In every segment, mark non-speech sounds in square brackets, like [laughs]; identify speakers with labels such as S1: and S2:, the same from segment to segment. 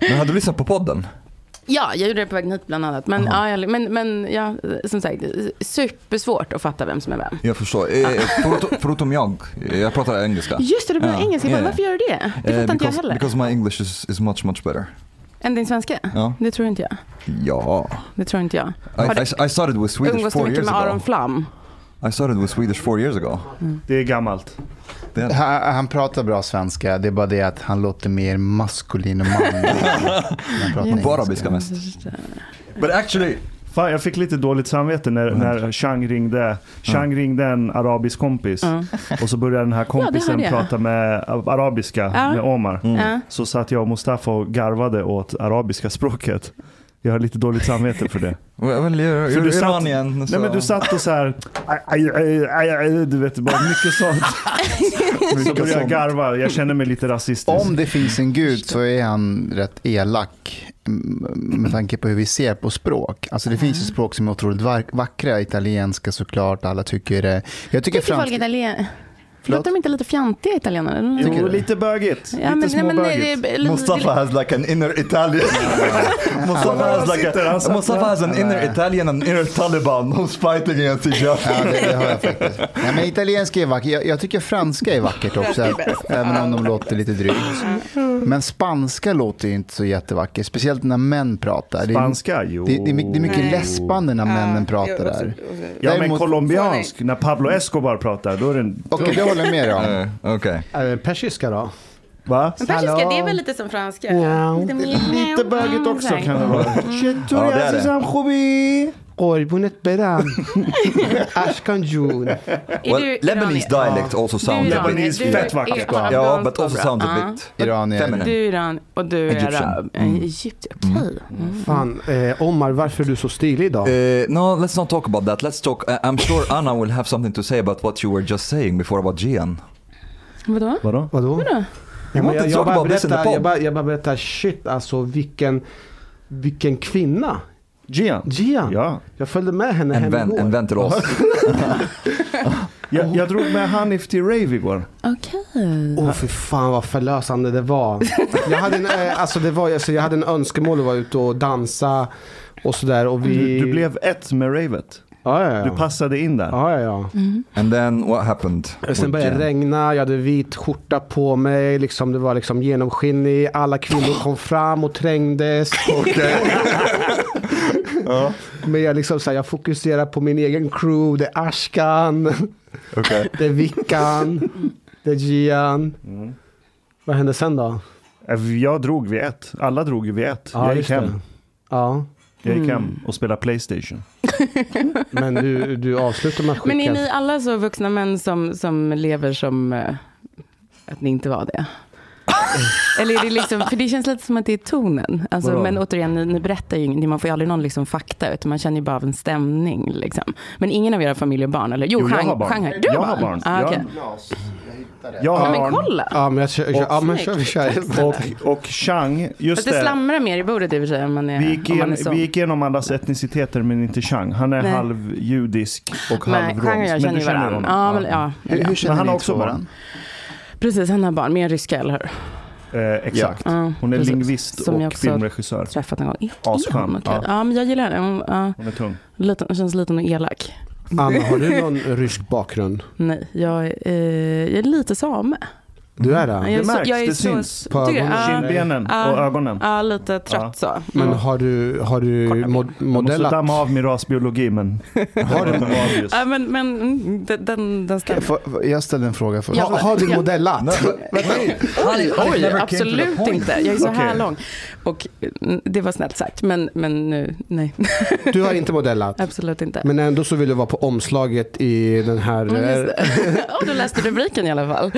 S1: Men hade du lyssnat på podden?
S2: Ja, jag gjorde det på vägen hit bland annat. Men, ja, jag, men, men ja, som sagt, supersvårt att fatta vem som är vem.
S1: Jag förstår. Eh, [laughs] förutom, förutom jag, jag pratar engelska.
S2: Just det, du pratar
S1: Ja,
S2: engelska. Jag bara,
S1: ja, ja.
S2: Varför gör du det? Det
S1: Eh,
S2: fattar inte jag
S1: because,
S2: heller.
S1: because my English is, is much much better.
S2: Än din svenska?
S1: Ja.
S2: Det tror inte jag.
S1: Ja.
S2: Det tror inte jag. Har
S1: I,
S2: du-
S1: I, I started with Swedish
S2: Umgås du
S1: four
S2: mycket
S1: years
S2: med Aron
S1: ago.
S2: Flam?
S1: I started with Swedish four years ago.
S3: Det är gammalt.
S1: Det-
S4: Han, han pratar bra svenska, det är bara det att han låter mer maskulin och manlig. när han pratar
S1: Bara
S4: engelska.
S1: biska mest. But actually,
S3: Fan, jag fick lite dåligt samvete när,
S4: Mm.
S3: när Chang ringde. Chang ringde en arabisk kompis.
S1: Mm.
S2: Ja.
S3: Och så började den här kompisen
S2: hörde jag.
S3: prata med arabiska
S2: Ja.
S3: med Omar.
S1: Mm.
S2: Ja.
S3: Så satt jag och Mustafa och garvade åt arabiska språket. Jag har lite dåligt samvete
S4: [laughs]
S3: för det.
S1: well, you're,
S3: För
S1: you're
S3: du satt-
S1: Iranian.
S3: Nej men du satt och så här, aj, aj, aj, aj, aj, du vet bara mycket
S4: [laughs]
S3: sånt. Så började jag garva, jag känner mig lite rasistisk.
S4: Om det finns en gud så är han rätt elak m- med tanke på hur vi ser på språk. Alltså det finns ju språk som är otroligt va- vackra, italienska såklart, alla tycker det. Jag tycker
S2: Tycker folk
S4: franska...
S2: italien...
S4: Förlåt?
S2: Låter de inte lite fjantiga italienare? Eller?
S4: tycker
S3: Jo,
S4: du?
S3: lite bögigt. lite småbögigt.
S2: är-
S1: Mustafa has like an inner Italian. Mustafa has like
S3: sitter, han
S1: a,
S3: satt
S1: Mustafa
S3: där.
S1: has an inner Italian and inner Taliban who's fighting against each other.
S4: Ja, det, det har jag faktiskt. Nej, men italienska är vackert. Jag, jag tycker franska är vackert också, [laughs] även om de låter lite drygt. Men spanska låter ju inte så jättevackert, speciellt när män pratar. Det är-
S3: Spanska, jo.
S4: Det, det, är mycket, det är mycket
S5: Nej.
S4: läspande när männen pratar där.
S3: Ja men
S4: Däremot-
S3: colombiansk, när Pablo Escobar pratar, då är det en...
S4: Okej, det håller jag med dig
S3: [laughs]
S4: om.
S1: Eh, [laughs] Okej.
S6: Eh, Persiska då?
S3: Va?
S2: Men persiska,
S6: Hallå?
S2: det är väl lite som franska?
S6: Ja.
S3: Lite bögigt också kan det vara.
S1: Ja, det är det.
S6: قربونت [laughs] برم اشکان جون
S1: Well, Lebanese dialect
S6: Oh.
S1: also sounds a bit.
S3: Lebanese, fett vackert.
S1: Ja, but also sounds a bit.
S4: Iranier.
S1: Feminine.
S2: Du är Iran och du är
S1: Egyptian.
S2: arab.
S1: Mm.
S2: Egypten, okej. Mm.
S6: Fan, eh, Omar varför är du så stilig idag?
S1: Uh, no, let's not talk about that. Let's talk. I- I'm sure Anna will have something to say about what you were just saying before about Gian.
S2: Vadå?
S3: Vadå?
S6: Vadå?
S1: You
S6: Men
S1: wanted
S6: Jag,
S1: to
S6: jag,
S1: talk
S6: bara
S1: about this in the
S6: berättar, jag,
S1: pod.
S6: bara, jag bara berättar, shit alltså vilken, vilken kvinna.
S3: Gian?
S6: Gian.
S3: Ja.
S6: Jag följde med henne
S1: En
S6: hem
S1: vän,
S6: igår.
S1: en vän
S6: [laughs]
S1: till oss.
S2: Oh.
S3: Jag, jag drog med Hanif till rave igår.
S2: Okej.
S6: Åh fy fan vad förlösande det var. Jag hade en, eh, alltså det var, alltså, jag hade en önskemål att vara ute och dansa och sådär. Och vi...
S3: Du, du blev ett med ravet.
S6: Ja, ja, ja.
S3: Du passade in där.
S6: Ja, ja, ja.
S1: And then what happened?
S6: Sen
S1: with
S6: började det
S1: Gian?
S6: regna, jag hade vit skjorta på mig, liksom, det var liksom genomskinlig, alla kvinnor kom fram och trängdes. Men jag, liksom, så här, jag fokuserar på min egen crew, det är Ashkan,
S1: Okej.
S6: [laughs] det är Vickan, det är Gian. Vad hände sen då?
S3: Äh, Jag drog vid ett. Alla drog ju vid ett. jag gick
S6: just
S3: hem.
S6: det. Ja,
S3: Jag gick
S2: Mm.
S3: hem och spelade Playstation.
S6: men du, du avslutar med att skicka.
S2: Men är ni alla så vuxna män som, som lever som eh, att ni inte var
S1: [laughs]
S2: det? Eller är det liksom, för det känns lite som att det är tonen. Alltså,
S3: Vadå?
S2: men återigen, ni, ni berättar ju ingenting, man får ju aldrig någon liksom fakta, utan man känner ju bara av en stämning. Liksom. Men ingen av era familjer har barn, eller? Jo,
S3: Jo, jag
S2: Chang-
S3: har barn.
S2: Chang Du
S3: Jag
S2: har
S3: har barn.
S2: Ah,
S3: Jag-
S2: okej.
S3: Jag
S2: Ja,
S3: har
S2: men
S3: barn.
S2: kolla!
S6: Ja, men jag kör, kör, ja, men kör, vi kör.
S3: Och, och Chang, just
S2: Fast det
S3: det.
S2: slamrar mer i bordet i och för sig om man är,
S3: Vi gick,
S2: om man
S3: igen,
S2: är så.
S3: vi gick igenom allas etniciteter men inte Chang. Han är
S2: Nej.
S3: halvjudisk och
S2: Nej,
S3: halvromsk.
S2: Chang och jag känner ju varandra. Ja, men, ja.
S4: Hur, hur känner
S3: han har
S4: ni
S3: också
S4: två
S3: barn.
S4: varandra?
S2: Precis, han har barn med en ryska, eller hur?
S3: Eh, exakt.
S2: Ja,
S3: Hon är
S2: precis.
S3: lingvist
S2: Som jag
S3: och
S2: också-
S3: filmregissör.
S2: Träffat en gång. Är
S3: Asskön.
S2: hon okej?
S3: Ja.
S2: Ja. men jag gillar henne. Hon ja,
S3: Hon är tung.
S2: liten- känns liten och elak.
S6: Anna, har du någon rysk bakgrund?
S2: Nej, jag, är, eh, jag är lite same.
S6: Du är det?
S2: jag är
S3: Det märks, det syns.
S6: På
S2: tycker du?
S6: ögonen.
S2: Ja,
S3: Kindbenen
S2: Ja.
S3: och ögonen.
S2: ja, lite trött så.
S6: Men
S2: Mm.
S6: har du, har du mod,
S3: Jag måste
S6: modellat?
S3: damma av min rasbiologi men... [laughs] Har du
S2: Ja, men, men mm, den, den, den stämmer.
S4: Får- Jag ställde en fråga först.
S2: Ja.
S6: Har, har du modellat?
S1: Hanif- Hanif
S2: Oj,
S1: never came to the
S2: absolut
S1: point.
S2: inte. Jag är så här
S3: Okej.
S2: lång. Och mm, det var snällt sagt, men, men nu, nej, [laughs]
S6: Du har inte modellat.
S2: absolut inte.
S6: Men ändå så vill du vara på omslaget i den här...
S2: Mm, just [laughs] det. Ja, du läste rubriken i alla fall.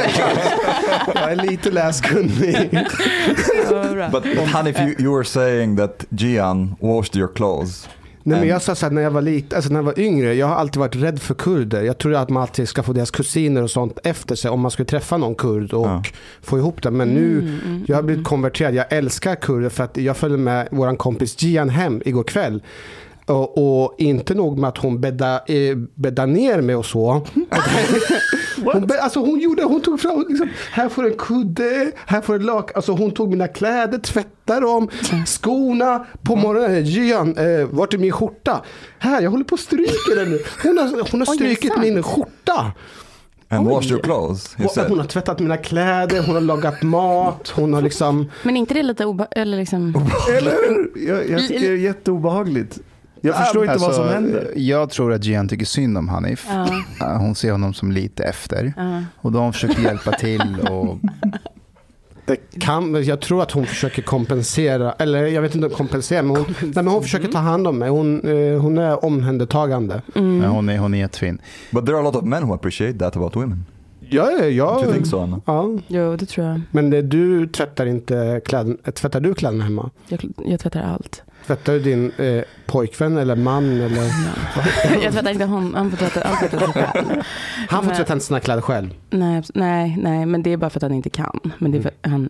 S6: [laughs] jag är lite läskunnig.
S2: [laughs] Ja, vad bra.
S1: But, but Hanif, you, you were saying that Gian washed your clothes.
S6: Nej, men jag sa så här, när jag var lite, alltså när jag var yngre, jag har alltid varit rädd för kurder. Jag tror att man alltid ska få deras kusiner och sånt efter sig om man skulle träffa någon kurd och
S1: Ja.
S6: få ihop det. Men nu, jag har blivit konverterad. Jag älskar kurder för att jag följde med vår kompis Gian hem igår kväll. Och, och inte nog med att hon bäddade eh, bädda ner mig och så. Hon, be- alltså hon, gjorde, hon tog fram, liksom, här får du en kudde, här får du ett lakan. Alltså hon tog mina kläder, tvättade dem, skorna. På morgonen, Gian, eh, vart är min skjorta? Här, jag håller på och stryker den nu. Hon har, hon har
S2: Oj,
S6: strykit
S2: sant?
S6: min skjorta.
S1: And wash your clothes
S6: Hon, hon
S1: instead.
S6: har tvättat mina kläder, hon har lagat mat, hon har liksom...
S2: Men inte det lite obe... Eller liksom...
S3: Eller Jag, jag tycker det är jätteobehagligt. Jag förstår inte vad som
S4: Alltså,
S3: händer.
S4: Jag tror att Gian tycker synd om Hanif.
S2: Ja,
S4: Eh, Hon ser honom som lite efter.
S2: ja.
S4: Och de försöker hjälpa till.
S2: [laughs]
S4: Och,
S6: Det kan, jag tror att hon försöker kompensera, eller jag vet inte om kompensera, men hon, nej, men hon försöker ta hand om mig. Hon, eh, hon är omhändertagande.
S2: Mm.
S4: men hon, är, hon är jättefin.
S1: But there are a lot of men who appreciate that about women.
S6: Ja, ja, ja.
S1: Do you think so,
S6: [laughs]
S1: Anna? [laughs]
S6: ja.
S2: Jo, det tror jag.
S6: Men det, du tvättar inte kläderna, eh, tvättar du kläderna hemma?
S2: Jag, jag tvättar allt.
S6: Tvättar du din eh, pojkvän eller man? Eller?
S2: [laughs] Jag tvättar inte hon, han får tvätta allt. tvättar sig själv.
S6: Han får
S2: Nej.
S6: tvätta sina kläder själv.
S2: Nej, abs- nej, nej, men det är bara för att han inte kan. Men det är för att han...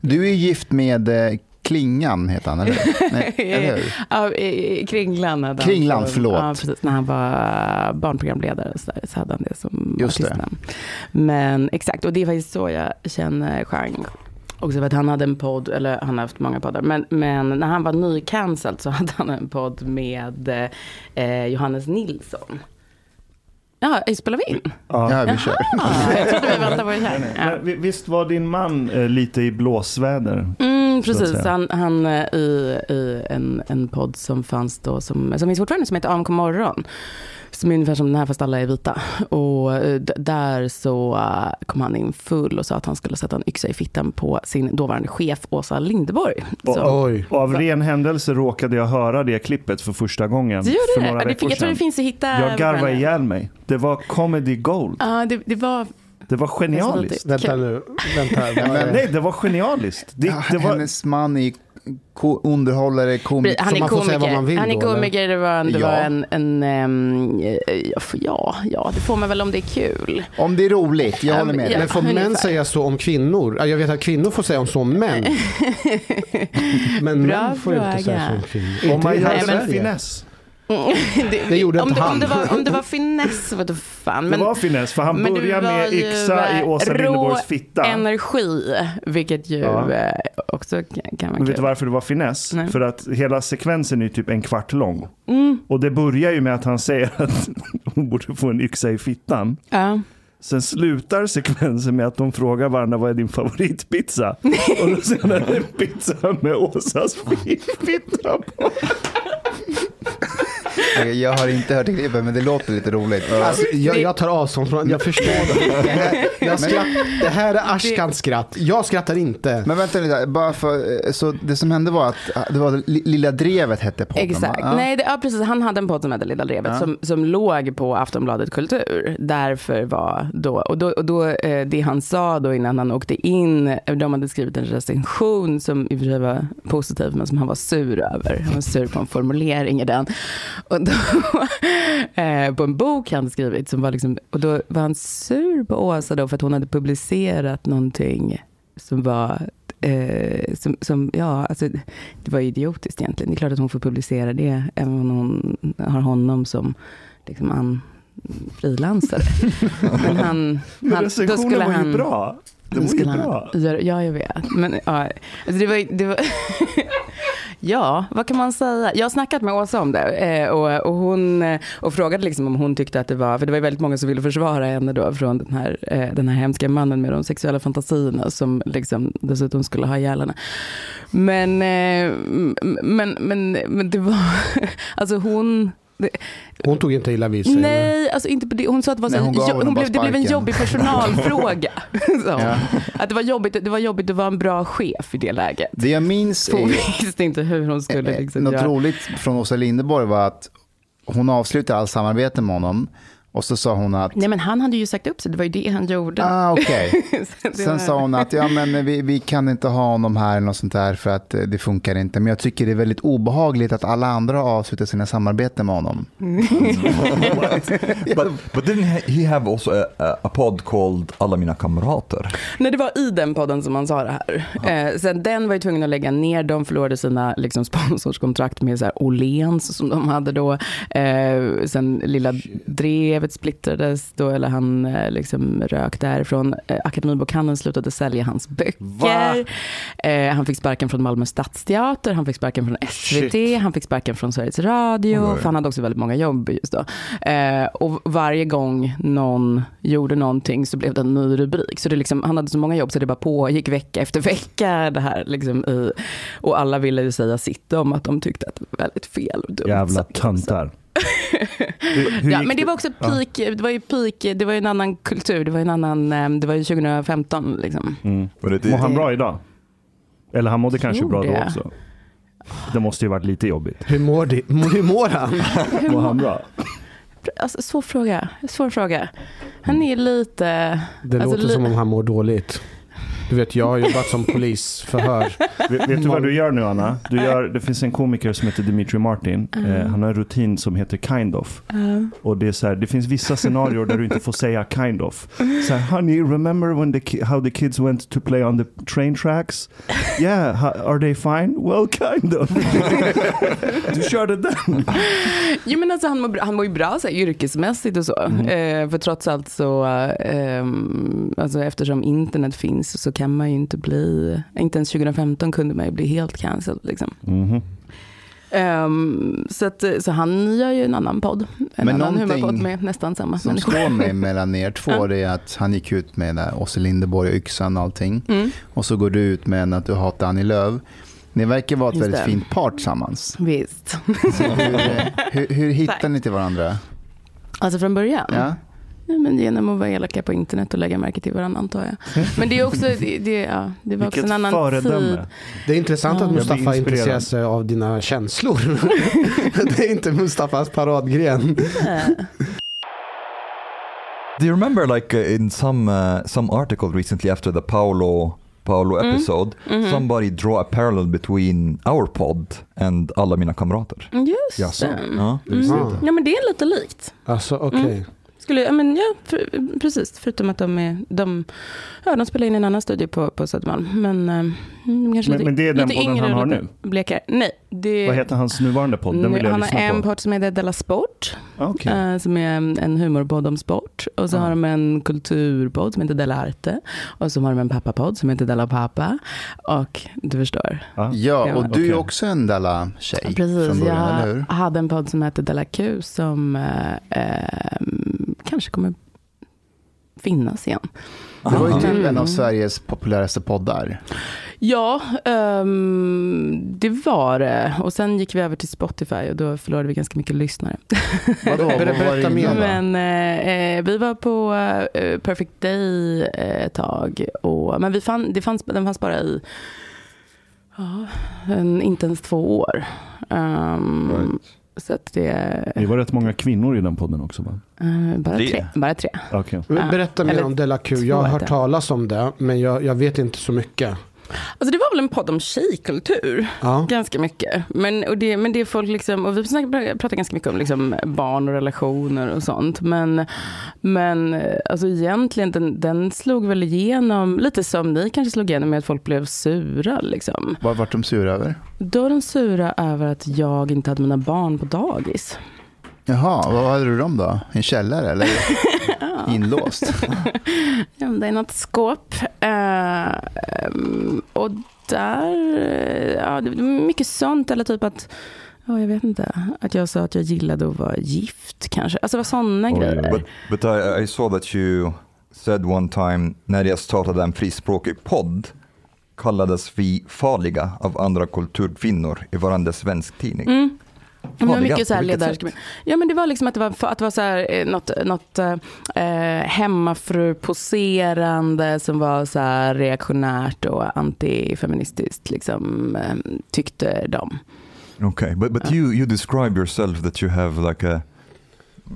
S4: Du är gift med eh, Klingan, heter han, eller hur? Nej, eller hur?
S2: [laughs] Ja, i- i Kringlan hade han
S4: Kringlan,
S2: som-
S4: förlåt.
S2: Ja, precis. När han var barnprogramledare och så, där, så hade han det som
S4: Just det.
S2: artistnamn. Men exakt, och det är faktiskt så jag känner Chang. Också för att han hade en podd, eller han har haft många poddar, men, men när han var nycancelled så hade han en podd med eh, Johannes Nilsson. Ja, spelar
S4: [laughs]
S2: vi in?
S4: Ja, vi kör.
S2: Ah, jag trodde vi väntade på det här. Ja.
S3: Men vi- Visst var din man eh, lite i blåsväder?
S2: Mm,
S3: så att
S2: precis,
S3: säga.
S2: han, han eh, i, i en, en podd som fanns då, som, som finns fortfarande, som heter AMK morgon. Som är ungefär som den här fast alla är vita. Och eh, d- där så eh, kom han in full och sa att han skulle sätta en yxa i fittan på sin dåvarande chef Åsa Linderborg. Så.
S6: Oj.
S3: Och av ren händelse råkade jag höra det klippet för första gången
S2: Du
S3: för
S2: gjorde det?
S3: några
S2: Ja, det
S3: veckor
S2: fick, jag tror det
S3: sedan.
S2: finns att hitta.
S3: Jag garvade ihjäl mig. Det var comedy gold.
S2: Ja, det, det var...
S3: Det var
S2: Det är
S3: genialiskt.
S2: sant.
S6: Vänta nu. [laughs] Vänta. vad är det?
S3: Nej, det var genialiskt. Det, det var,
S4: Hennes man är ko- underhållare, komiker.
S2: Han
S6: Så
S2: är
S6: man får säga vad
S2: komiker,
S6: man vill
S2: han är
S6: då, eller?
S2: komiker det var en, det var
S4: Ja.
S2: en, en ehm, eh, ja, för- ja, ja, det får man väl om det är kul.
S4: Om det är roligt, jag håller med dig.
S2: Ja,
S6: Men får
S2: ungefär.
S6: män säga så om kvinnor? Ja, Jag vet att kvinnor får säga om så om män. Men
S2: Bra
S6: män får ju inte
S2: fråga.
S6: säga så om kvinnor.
S3: om man
S6: Inte i
S3: gör
S2: Nej, men-
S3: en
S6: Sverige.
S3: finess.
S2: Mm. [laughs] det,
S6: Det gjorde
S2: om,
S6: inte
S2: det, om,
S6: han.
S2: det var, om det
S3: [laughs]
S2: var finess, vad du fan. Men
S3: det var finess, för han
S2: men du
S3: började
S2: var
S3: med
S2: ju,
S3: yxa i
S2: eh,
S3: Åsa
S2: rå
S3: Linderborgs fitta.
S2: energi, vilket ju
S3: Ja.
S2: eh, också kan, kan vara
S3: Men
S2: kul.
S3: vet du varför det var finess?
S2: Nej. Mm.
S3: För att hela sekvensen är ju typ en kvart lång. Och det börjar ju med att han säger att [laughs] hon borde få en yxa i fittan.
S2: Ja.
S3: Sen slutar sekvensen med att de frågar varandra vad är din favoritpizza? Och då säger han "Det är en pizza med Åsas fitta på.
S4: Okej, Jag har inte hört klippet, men det låter lite roligt.
S6: Alltså, jag, jag tar avstånd från jag förstår det. Det här, jag skratt, det här är Ashkans skratt. Jag skrattar inte.
S4: Men vänta lite, bara för, eh, så det som hände var att eh, det var Li- Lilla Drevet hette podden
S2: Exakt.
S4: va? Ja.
S2: Nej, det, ja, precis. Han hade en podd som hette Lilla Drevet
S4: Ja.
S2: som, som låg på Aftonbladet Kultur. Därför var då, och då, och då eh, det han sa då innan han åkte in, eh, de hade skrivit en recension som i och för sig var positiv men som han var sur över. Han var sur på en formulering i den. Och då, [laughs] eh, på en bok han skrivit som var liksom, och då var han sur på Åsa då för att hon hade publicerat någonting som var Eh, som, som, ja, alltså, det var ju idiotiskt egentligen. Det är klart att hon får publicera det, även om hon har honom som liksom, an,
S3: [laughs]
S2: frilansare. Men han...
S3: Men
S2: han då
S3: recensionen
S2: skulle
S3: var ju
S2: han,
S3: bra. Det
S2: då
S3: var ju
S2: skulle
S3: bra.
S2: han, göra- ja, jag vet. Men, ja, alltså, det var, ju- det var, [laughs] ja, vad kan man säga? Jag har snackat med Åsa om det eh, och, och hon eh, och frågade liksom om hon tyckte att det var, för det var ju väldigt många som ville försvara henne då från den här, eh, den här hemska mannen med de sexuella fantasierna som liksom dessutom skulle ha ihjäl henne. Men, eh, m- men, men, men det var, [laughs] alltså hon,
S6: Hon tog inte illa vid sig. eller?
S2: Nej, alltså inte på det. Hon sa att det, var så
S4: Nej, hon gav
S2: jo-
S4: honom
S2: hon
S4: bara
S2: blev, det blev en
S4: sparken.
S2: jobbig
S4: [laughs]
S2: personalfråga. sa hon.
S4: Ja.
S2: Att det var, jobbigt, det var jobbigt att vara en bra chef i det läget.
S4: Det jag minns
S2: För hon
S4: är,
S2: visste inte hur hon skulle
S4: eh,
S2: liksom
S4: något
S2: göra.
S4: roligt från Åsa Linderborg var att hon avslutade allt samarbete med honom och så sa hon att,
S2: Nej men han hade ju sagt upp sig, det var ju det han gjorde.
S4: ah okej.
S2: [laughs] Så det var-
S4: Sen sa hon att ja, men eh, vi, vi kan inte ha honom här eller något sånt där för att eh, det funkar inte. Men jag tycker det är väldigt obehagligt att alla andra har avslutat sina samarbeten med honom.
S1: But, but didn't he- he have also a, a, a pod called Alla mina kamrater?
S2: Nej, det var i den podden som han sa det här. Eh, sen den var ju tvungen att lägga ner. De förlorade sina liksom, sponsorskontrakt med så här, Åhléns som de hade då. Eh, sen Lilla Drevet förvärvet splittrades då, eller han eh, liksom rök därifrån. Eh, Akademibokhandeln slutade sälja hans böcker. Eh, han fick sparken från Malmö stadsteater, han fick sparken från SVT, han fick sparken från Sveriges Radio,
S1: Oj.
S2: för han hade också väldigt många jobb just då. Eh, och varje gång någon gjorde någonting så blev det en ny rubrik. Så det liksom, han hade så många jobb så det bara pågick vecka efter vecka. Det här, liksom, i, och alla ville ju säga sitt om att de tyckte att det var väldigt fel och dumt.
S3: Jävla
S2: Så- [laughs]
S3: töntar. Hur- hur
S2: Ja,
S3: gick
S2: men det var också peak, det var ju peak, det var ju en annan kultur, det var ju en annan, eh, det var ju 2015 liksom.
S3: Mm.
S1: Var det
S3: Mår han
S1: det?
S3: bra idag? Eller han mådde kanske
S2: tror
S3: bra då
S2: det.
S3: också. Det måste ju varit lite jobbigt.
S6: Hur mår, det? hur mår han?
S3: Mår han bra?
S2: Alltså, svår fråga, svår fråga. Han är lite,
S6: Det
S2: Alltså,
S6: låter
S2: li-
S6: som om han mår dåligt. Du vet, jag har jobbat
S2: [laughs]
S6: som polisförhör.
S3: Vet, vet du vad du gör nu Anna? Du gör, det finns en komiker som heter Dimitri Martin. Eh, han har en rutin som heter Kind of. Och det, är så här, det finns vissa scenarier där du inte får säga kind of. Så här, honey, remember when the ki- how the kids went to play on the train tracks? Yeah, ha- are they fine? Well, kind
S2: [laughs]
S3: of. du körde den.
S2: jo men alltså han mår, bra- han mår ju bra så här, yrkesmässigt och så.
S4: Mhm.
S2: Eh, för trots allt så, eh, ehm, alltså, eftersom internet finns så kan man ju inte bli, inte ens 2015 kunde man ju bli helt cancelled liksom.
S3: Mhm.
S2: Ehm, så, att, eh, så han gör ju en annan podd. En
S4: Men
S2: annan
S4: någonting
S2: humorpodd med nästan samma
S4: Som
S2: människor.
S4: står mig mellan er två det är att han gick ut med där Osse Linderborg och yxan och allting.
S2: Mm.
S4: Och så går du ut med en att du hatar Annie Lööf. Ni verkar vara ett
S2: Just
S4: väldigt
S2: det.
S4: fint
S2: [laughs]
S4: par tillsammans.
S2: Visst.
S4: Så hur, hur, hur hittar ni till varandra?
S2: Alltså från början?
S4: Ja?
S2: Nej, men genom att vara elaka på internet och lägga märke till varandra antar jag.
S4: [laughs]
S2: Men det är också, det, det, ja, det var också
S3: Vilket
S2: en annan tid.
S3: föredöme.
S6: Det är intressant
S2: Ja.
S6: att
S2: Jag blir
S6: Mustafa
S3: inspirerad.
S6: intresserar sig av dina känslor. [laughs] det är inte Mustafas paradgren.
S3: [laughs]
S1: Do you remember, like, uh, in some uh, some article recently after the Paolo Paolo episode, somebody draw a parallel between our pod and alla mina kamrater?
S2: Just
S6: Jaså?
S2: det.
S1: Ja.
S6: Mm.
S2: Ja men det är lite likt.
S6: Alltså okej.
S2: Mm. Skulle, ja, men, ja, för, precis, förutom att de, är, de, ja, de spelar in i en annan studio på, på Södermalm. Men, eh, mm, kanske
S3: Men-
S2: lite,
S3: men det är den
S2: lite
S3: podden
S2: yngre
S3: han har
S2: och lite Blekare. Nej, det,
S3: Vad heter hans nuvarande podd? Den vill jag
S2: han har
S3: lyssna
S2: en
S3: på.
S2: podd som heter Della Sport,
S3: Ah, okej.
S2: eh, som är en- en humorpodd om sport. Och så
S3: Ah.
S2: har de en kulturpodd som heter Della Arte. Och så har de en pappapodd som heter Della Pappa. Och du förstår,
S3: Ah.
S4: ja, och du
S3: Okej.
S4: är också en Dalla-tjej
S2: Precis,
S4: från början, eller hur?
S2: jag hade en podd som hette Della Q som eh, eh, kanske kommer finnas igen.
S4: Det var ju typ
S2: Mm.
S4: en av Sveriges populäraste poddar.
S2: Ja, ehm, det var det. Och sen gick vi över till Spotify och då förlorade vi ganska mycket lyssnare.
S4: Vadå,
S6: Ber-
S4: vad var
S6: berätta
S4: det
S6: mer.
S4: innan då?
S2: [laughs] Men eh, eh, vi var på eh, Perfect Day eh, ett tag. Och, men vi fann, det fanns, den fanns bara i ja, en, inte ens två år. Ehm, Så att det
S3: Det var rätt många kvinnor i den podden också va?
S2: eh, bara
S1: Tre.
S2: tre. Bara tre.
S3: Okej.
S6: Men Berätta
S2: Ah,
S6: mer
S2: eller
S6: om Della Q. Jag har
S2: två
S6: hört
S2: heter
S6: talas om det, men jag, jag vet inte så mycket.
S2: Alltså det var väl en podd om tjejkultur.
S6: Ja.
S2: Ganska mycket. Men, och det, men det är folk liksom, och vi snackar- pratar ganska mycket om liksom barn och relationer och sånt. Men, men eh, alltså egentligen, den, den slog väl igenom, lite som ni kanske slog igenom med att folk blev sura. Liksom.
S4: Vad vart de sura över?
S2: Då var de sura över att jag inte hade mina barn på dagis.
S4: Jaha, vad hade du dem då? En källare eller inlåst?
S2: Ja, men det är något skåp. Eh, ehm, och där, eh, ja, det det var mycket sånt. Eller typ att, ja, jag vet inte, att jag sa att jag gillade att vara gift kanske. Alltså det var sådana
S3: Oj,
S2: grejer.
S1: But, but I, I saw that you said one time när jag startade en frispråkig podd kallades vi farliga av andra kulturkvinnor i varandra svensk tidning.
S2: Mm. Men det var
S1: Farliga,
S2: mycket så här
S1: på vilket
S2: ledar...
S1: sätt?
S2: Ja men det var liksom att det var, att det var så här, eh, något, något eh, eh, hemmafru-poserande som var så här reaktionärt och antifeministiskt liksom, eh, tyckte de.
S1: Okay, but, but you, you describe yourself that you have like a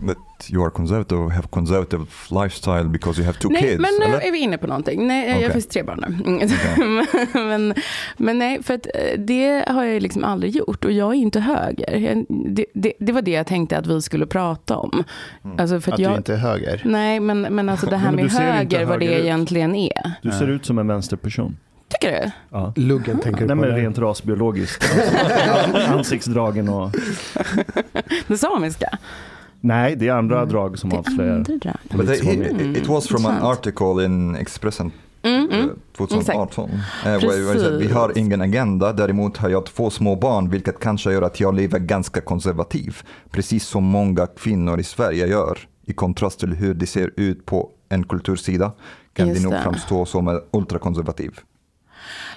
S1: that you are conservative, have conservative lifestyle because you have two
S2: nej,
S1: kids.
S2: men eh, nu
S1: eller?
S2: är vi inne på någonting. Nej, eh, jag
S1: Okej.
S2: har faktiskt tre barn nu. [laughs] Mm. men, men nej, för att eh, det har jag ju liksom aldrig gjort och jag är inte höger. Jag- Det, det, det var det jag tänkte att vi skulle prata om. Alltså för
S4: Att
S2: att
S4: du
S2: jag,
S4: inte är höger?
S2: Nej, men, men alltså det här
S3: men du
S2: med
S3: ser inte
S2: höger, vad det
S3: höger ut.
S2: egentligen är.
S3: Du ser ut som en vänsterperson.
S2: Tycker du?
S3: Ja.
S6: Luggen tänker du
S3: Nej
S6: på.
S3: men
S6: där.
S2: [laughs]
S3: rent rasbiologiskt. Alltså, Ansiktsdragen och...
S2: Den samiska?
S3: Nej, det är andra
S2: Mm.
S3: drag som
S2: Det är
S3: avslöjar.
S2: andra drag.
S1: But
S3: Politisk
S1: it,
S3: hållning.
S1: it, it was from an
S2: Mm, Intressant.
S1: article in Expressen
S2: Mm,
S1: eh,
S2: mm.
S1: 2018. Eh, where- where it said, vi
S2: Precis.
S1: har ingen agenda, däremot har jag två små barn vilket kanske gör att jag lever ganska konservativ. Precis som många kvinnor i Sverige gör. I kontrast till hur det ser ut på en kultursida kan
S2: Just
S1: det nog
S2: det.
S1: framstå som eh, ultrakonservativ.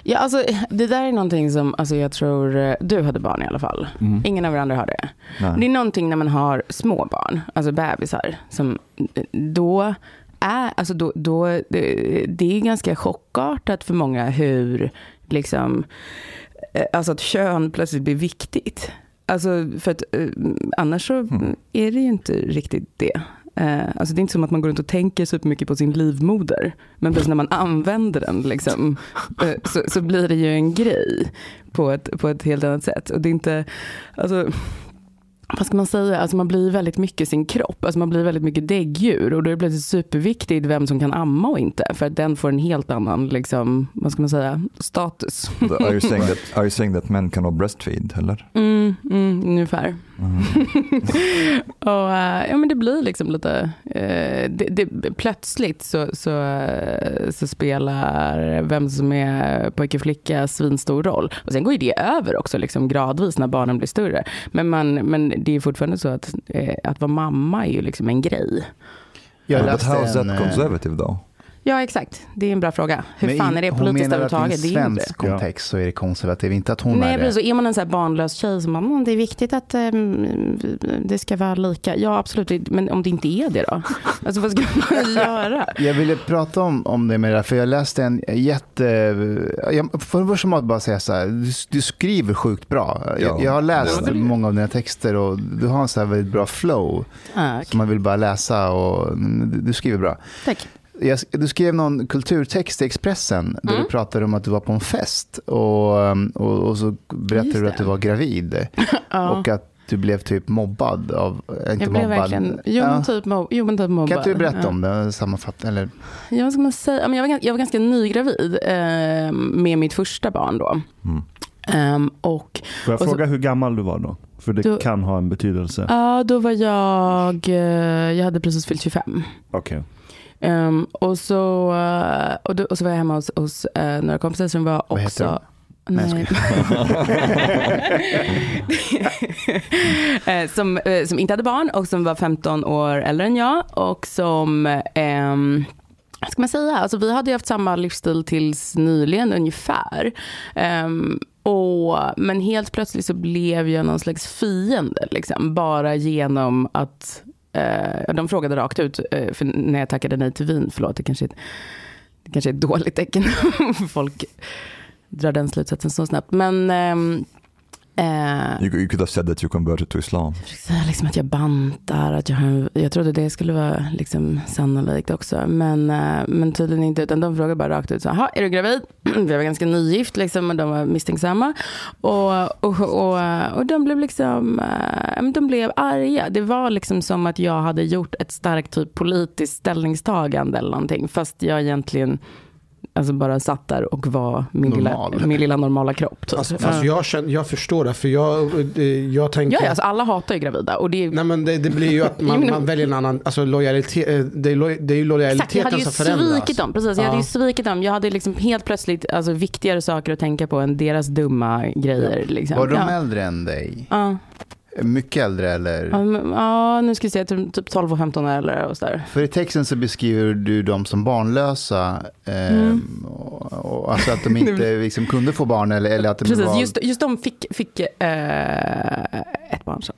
S2: Ja, alltså, det där är någonting som alltså, jag tror eh, du hade barn i alla fall. Ingen av er andra har det.
S1: Mm. Nej.
S2: Det är någonting när man har små barn, alltså bebisar, som eh, då är, alltså då, då, det, det är ganska chockartat för många hur, liksom, eh, alltså att kön plötsligt blir viktigt. Alltså för att eh, annars så
S1: Mm.
S2: är det ju inte riktigt det. Eh, alltså det är inte som att man går runt och tänker supermycket på sin livmoder. Men precis när man använder den liksom, eh, så, så blir det ju en grej på ett, på ett helt annat sätt. Och det är inte, alltså, vad ska man säga, alltså man blir väldigt mycket sin kropp. Alltså man blir väldigt mycket däggdjur. Och då är det plötsligt superviktigt vem som kan amma och inte. För att den får en helt annan, liksom, vad ska man säga, status.
S1: Are you saying that, are you saying that men kan ha breastfeed eller?
S2: Mm, mm, ungefär.
S1: Mm.
S2: [laughs] och, eh, ja, men det blir liksom lite... eh, det, det, plötsligt så, så, eh, så spelar vem som är pojke och flicka svinstor roll. Och sen går ju det över också liksom, gradvis när barnen blir större. Men, man, men det är fortfarande så att, eh, att vara mamma är ju liksom en grej.
S4: Jag
S1: But
S4: läste
S1: how is
S4: en...
S1: that
S4: eh,
S1: conservative though?
S2: Ja, exakt. Det är en bra fråga. Hur
S4: men
S2: fan
S4: i-
S2: är det
S4: hon
S2: politiskt
S4: menar att
S2: överhuvudtaget? Det
S4: I
S2: är ju inte
S4: svensk
S2: det.
S4: kontext så är det konservativ, inte att hon
S2: Nej,
S4: är
S2: precis.
S4: det.
S2: Och är man en så här barnlös tjej som bara, "Mm, det är viktigt att eh, det ska vara lika. Ja, absolut. Det- Men om det inte är det då? [laughs] Alltså vad ska
S4: [laughs]
S2: man göra?
S4: Jag ville prata om, om det med det här, för jag läste en jätte... Jag, för det första måste jag bara säga så här, du, du skriver sjukt bra. Jag,
S1: Ja.
S4: jag har läst
S1: Ja, det-
S4: många av dina texter och du har en så här väldigt bra flow som man vill bara läsa och mm, du, du skriver bra.
S2: Tack.
S4: Jag, du skrev någon kulturtext i Expressen där
S2: Mm.
S4: du pratade om att du var på en fest och, och, och så berättade
S2: Just
S4: du att
S2: det.
S4: du var gravid
S2: Ja.
S4: och att du blev typ mobbad av, äh, inte
S2: Jag blev
S4: mobbad.
S2: verkligen, jo men
S4: ja.
S2: typ, mob, jo, men typ mobbad.
S4: Kan inte du berätta
S2: Ja.
S4: om det? Sammanfatta, eller?
S2: Ja, vad ska man säga? Ja, men jag, var, gan- jag var ganska nygravid eh, med mitt första barn då.
S1: Mm.
S2: Ehm, och
S3: Får jag
S2: Och så-
S3: fråga hur gammal du var då? För det
S2: Du-
S3: kan ha en betydelse.
S2: ja, då var jag, eh, jag hade precis fyllt 25.
S3: Okej.
S2: Ehm, och, så, eh, och, då, och så var jag hemma hos, hos eh, några kompisar som var
S4: Vad heter
S2: också...
S4: Nej, jag
S2: Nej. [laughs] Eh, som, eh, som inte hade barn och som var 15 år äldre än jag. Och som, ehm, vad ska man säga, alltså, vi hade ju haft samma livsstil tills nyligen ungefär. Ehm, och, men helt plötsligt så blev jag någon slags fiende. Liksom, bara genom att eh, de frågade rakt ut eh, för när jag tackade nej till vin. Förlåt, det kanske, är ett- det kanske är ett dåligt tecken. [laughs] Folk drar den slutsatsen så snabbt. Men ehm, eh,
S1: You, you could have said that you converted to Islam.
S2: försökte säga liksom att jag bantar, att jag, har en- jag trodde det skulle vara liksom sannolikt också. Men, eh, men tydligen inte, utan de frågade bara rakt ut. Så, "Jaha, är du gravid? [clears throat] Vi var ganska nygift liksom, och de var misstänksamma. Och, och, och, och de blev liksom, eh, men de blev arga. Det var liksom som att jag hade gjort ett starkt typ politiskt ställningstagande eller någonting. Fast jag egentligen Alltså bara satt där och var min, lilla,
S4: Normal.
S2: min lilla normala kropp. Typ.
S6: Alltså, fast jag, känner, jag förstår det, för jag, eh, jag tänker...
S2: ja, ja, alltså alla hatar ju gravida och det är
S6: Nej men det, det blir ju att
S2: [laughs] Jo,
S6: man,
S2: men-
S6: man väljer en annan, alltså lojalitet, eh, det är, loj, det är ju
S2: Exakt, jag hade
S6: lojaliteten
S2: ju
S6: som förändras.
S2: svikit dem. Precis, jag hade ju
S6: Ja.
S2: svikit dem. Jag hade liksom helt plötsligt alltså, viktigare saker att tänka på än deras dumma grejer. Liksom.
S4: Var de
S2: ja.
S4: äldre än dig?
S2: Ja.
S4: Mycket äldre eller?
S2: Ja, men- ja, nu ska vi se, typ typ 12 och 15 eller och sådär.
S4: För i texten så beskriver du dem som barnlösa. Eh,
S2: Mm.
S4: och, och, alltså att
S2: [laughs]
S4: de inte liksom, kunde få barn eller, eller att de
S2: Precis,
S4: var...
S2: just, just de fick, fick eh, ett barn sen.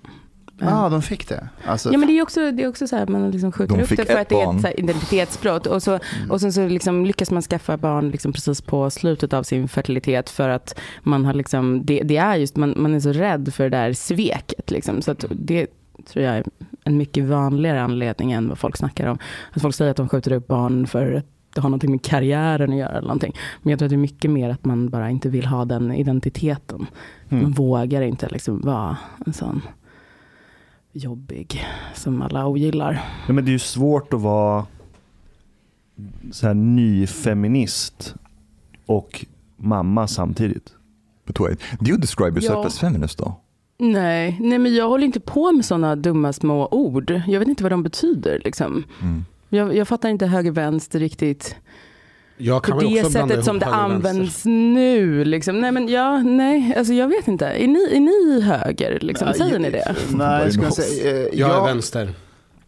S4: Ja, ah, de fick det. Alltså,
S2: Ja men det är ju också, det är också så här, man liksom skjuter
S1: De
S2: upp
S1: fick
S2: det för
S1: ett
S2: att det är ett
S1: barn.
S2: så här, identitetsbrott. Och, så, och sen så liksom lyckas man skaffa barn liksom precis på slutet av sin fertilitet för att man har liksom, det, det är just, man, man är så rädd för det där sveket liksom. Så att det tror jag är en mycket vanligare anledning än vad folk snackar om. Att folk säger att de skjuter upp barn för att det har någonting med karriären att göra eller någonting. Men jag tror att det är mycket mer att man bara inte vill ha den identiteten.
S3: Hm.
S2: Man vågar inte liksom vara en sån jobbig som alla ogillar.
S3: Ja, men det är ju svårt att vara så här nyfeminist och mamma samtidigt.
S1: But wait, do you describe yourself
S2: Ja.
S1: as feminist though?
S2: Nej, nej, men jag håller inte på med sådana dumma små ord. Jag vet inte vad de betyder. Liksom.
S1: Mm.
S2: Jag, jag fattar inte höger-vänster riktigt.
S5: Jag kan
S2: På
S5: väl
S2: det
S5: också blanda ihop
S2: sättet som det
S5: höger och vänster.
S2: används nu. Liksom. Nej, men ja, nej, alltså jag vet inte. Är ni, är ni höger? Liksom?
S4: Nej,
S2: Säger ni det?
S4: Nej, jag skulle säga... eh,
S5: Jag är
S4: ja,
S5: vänster.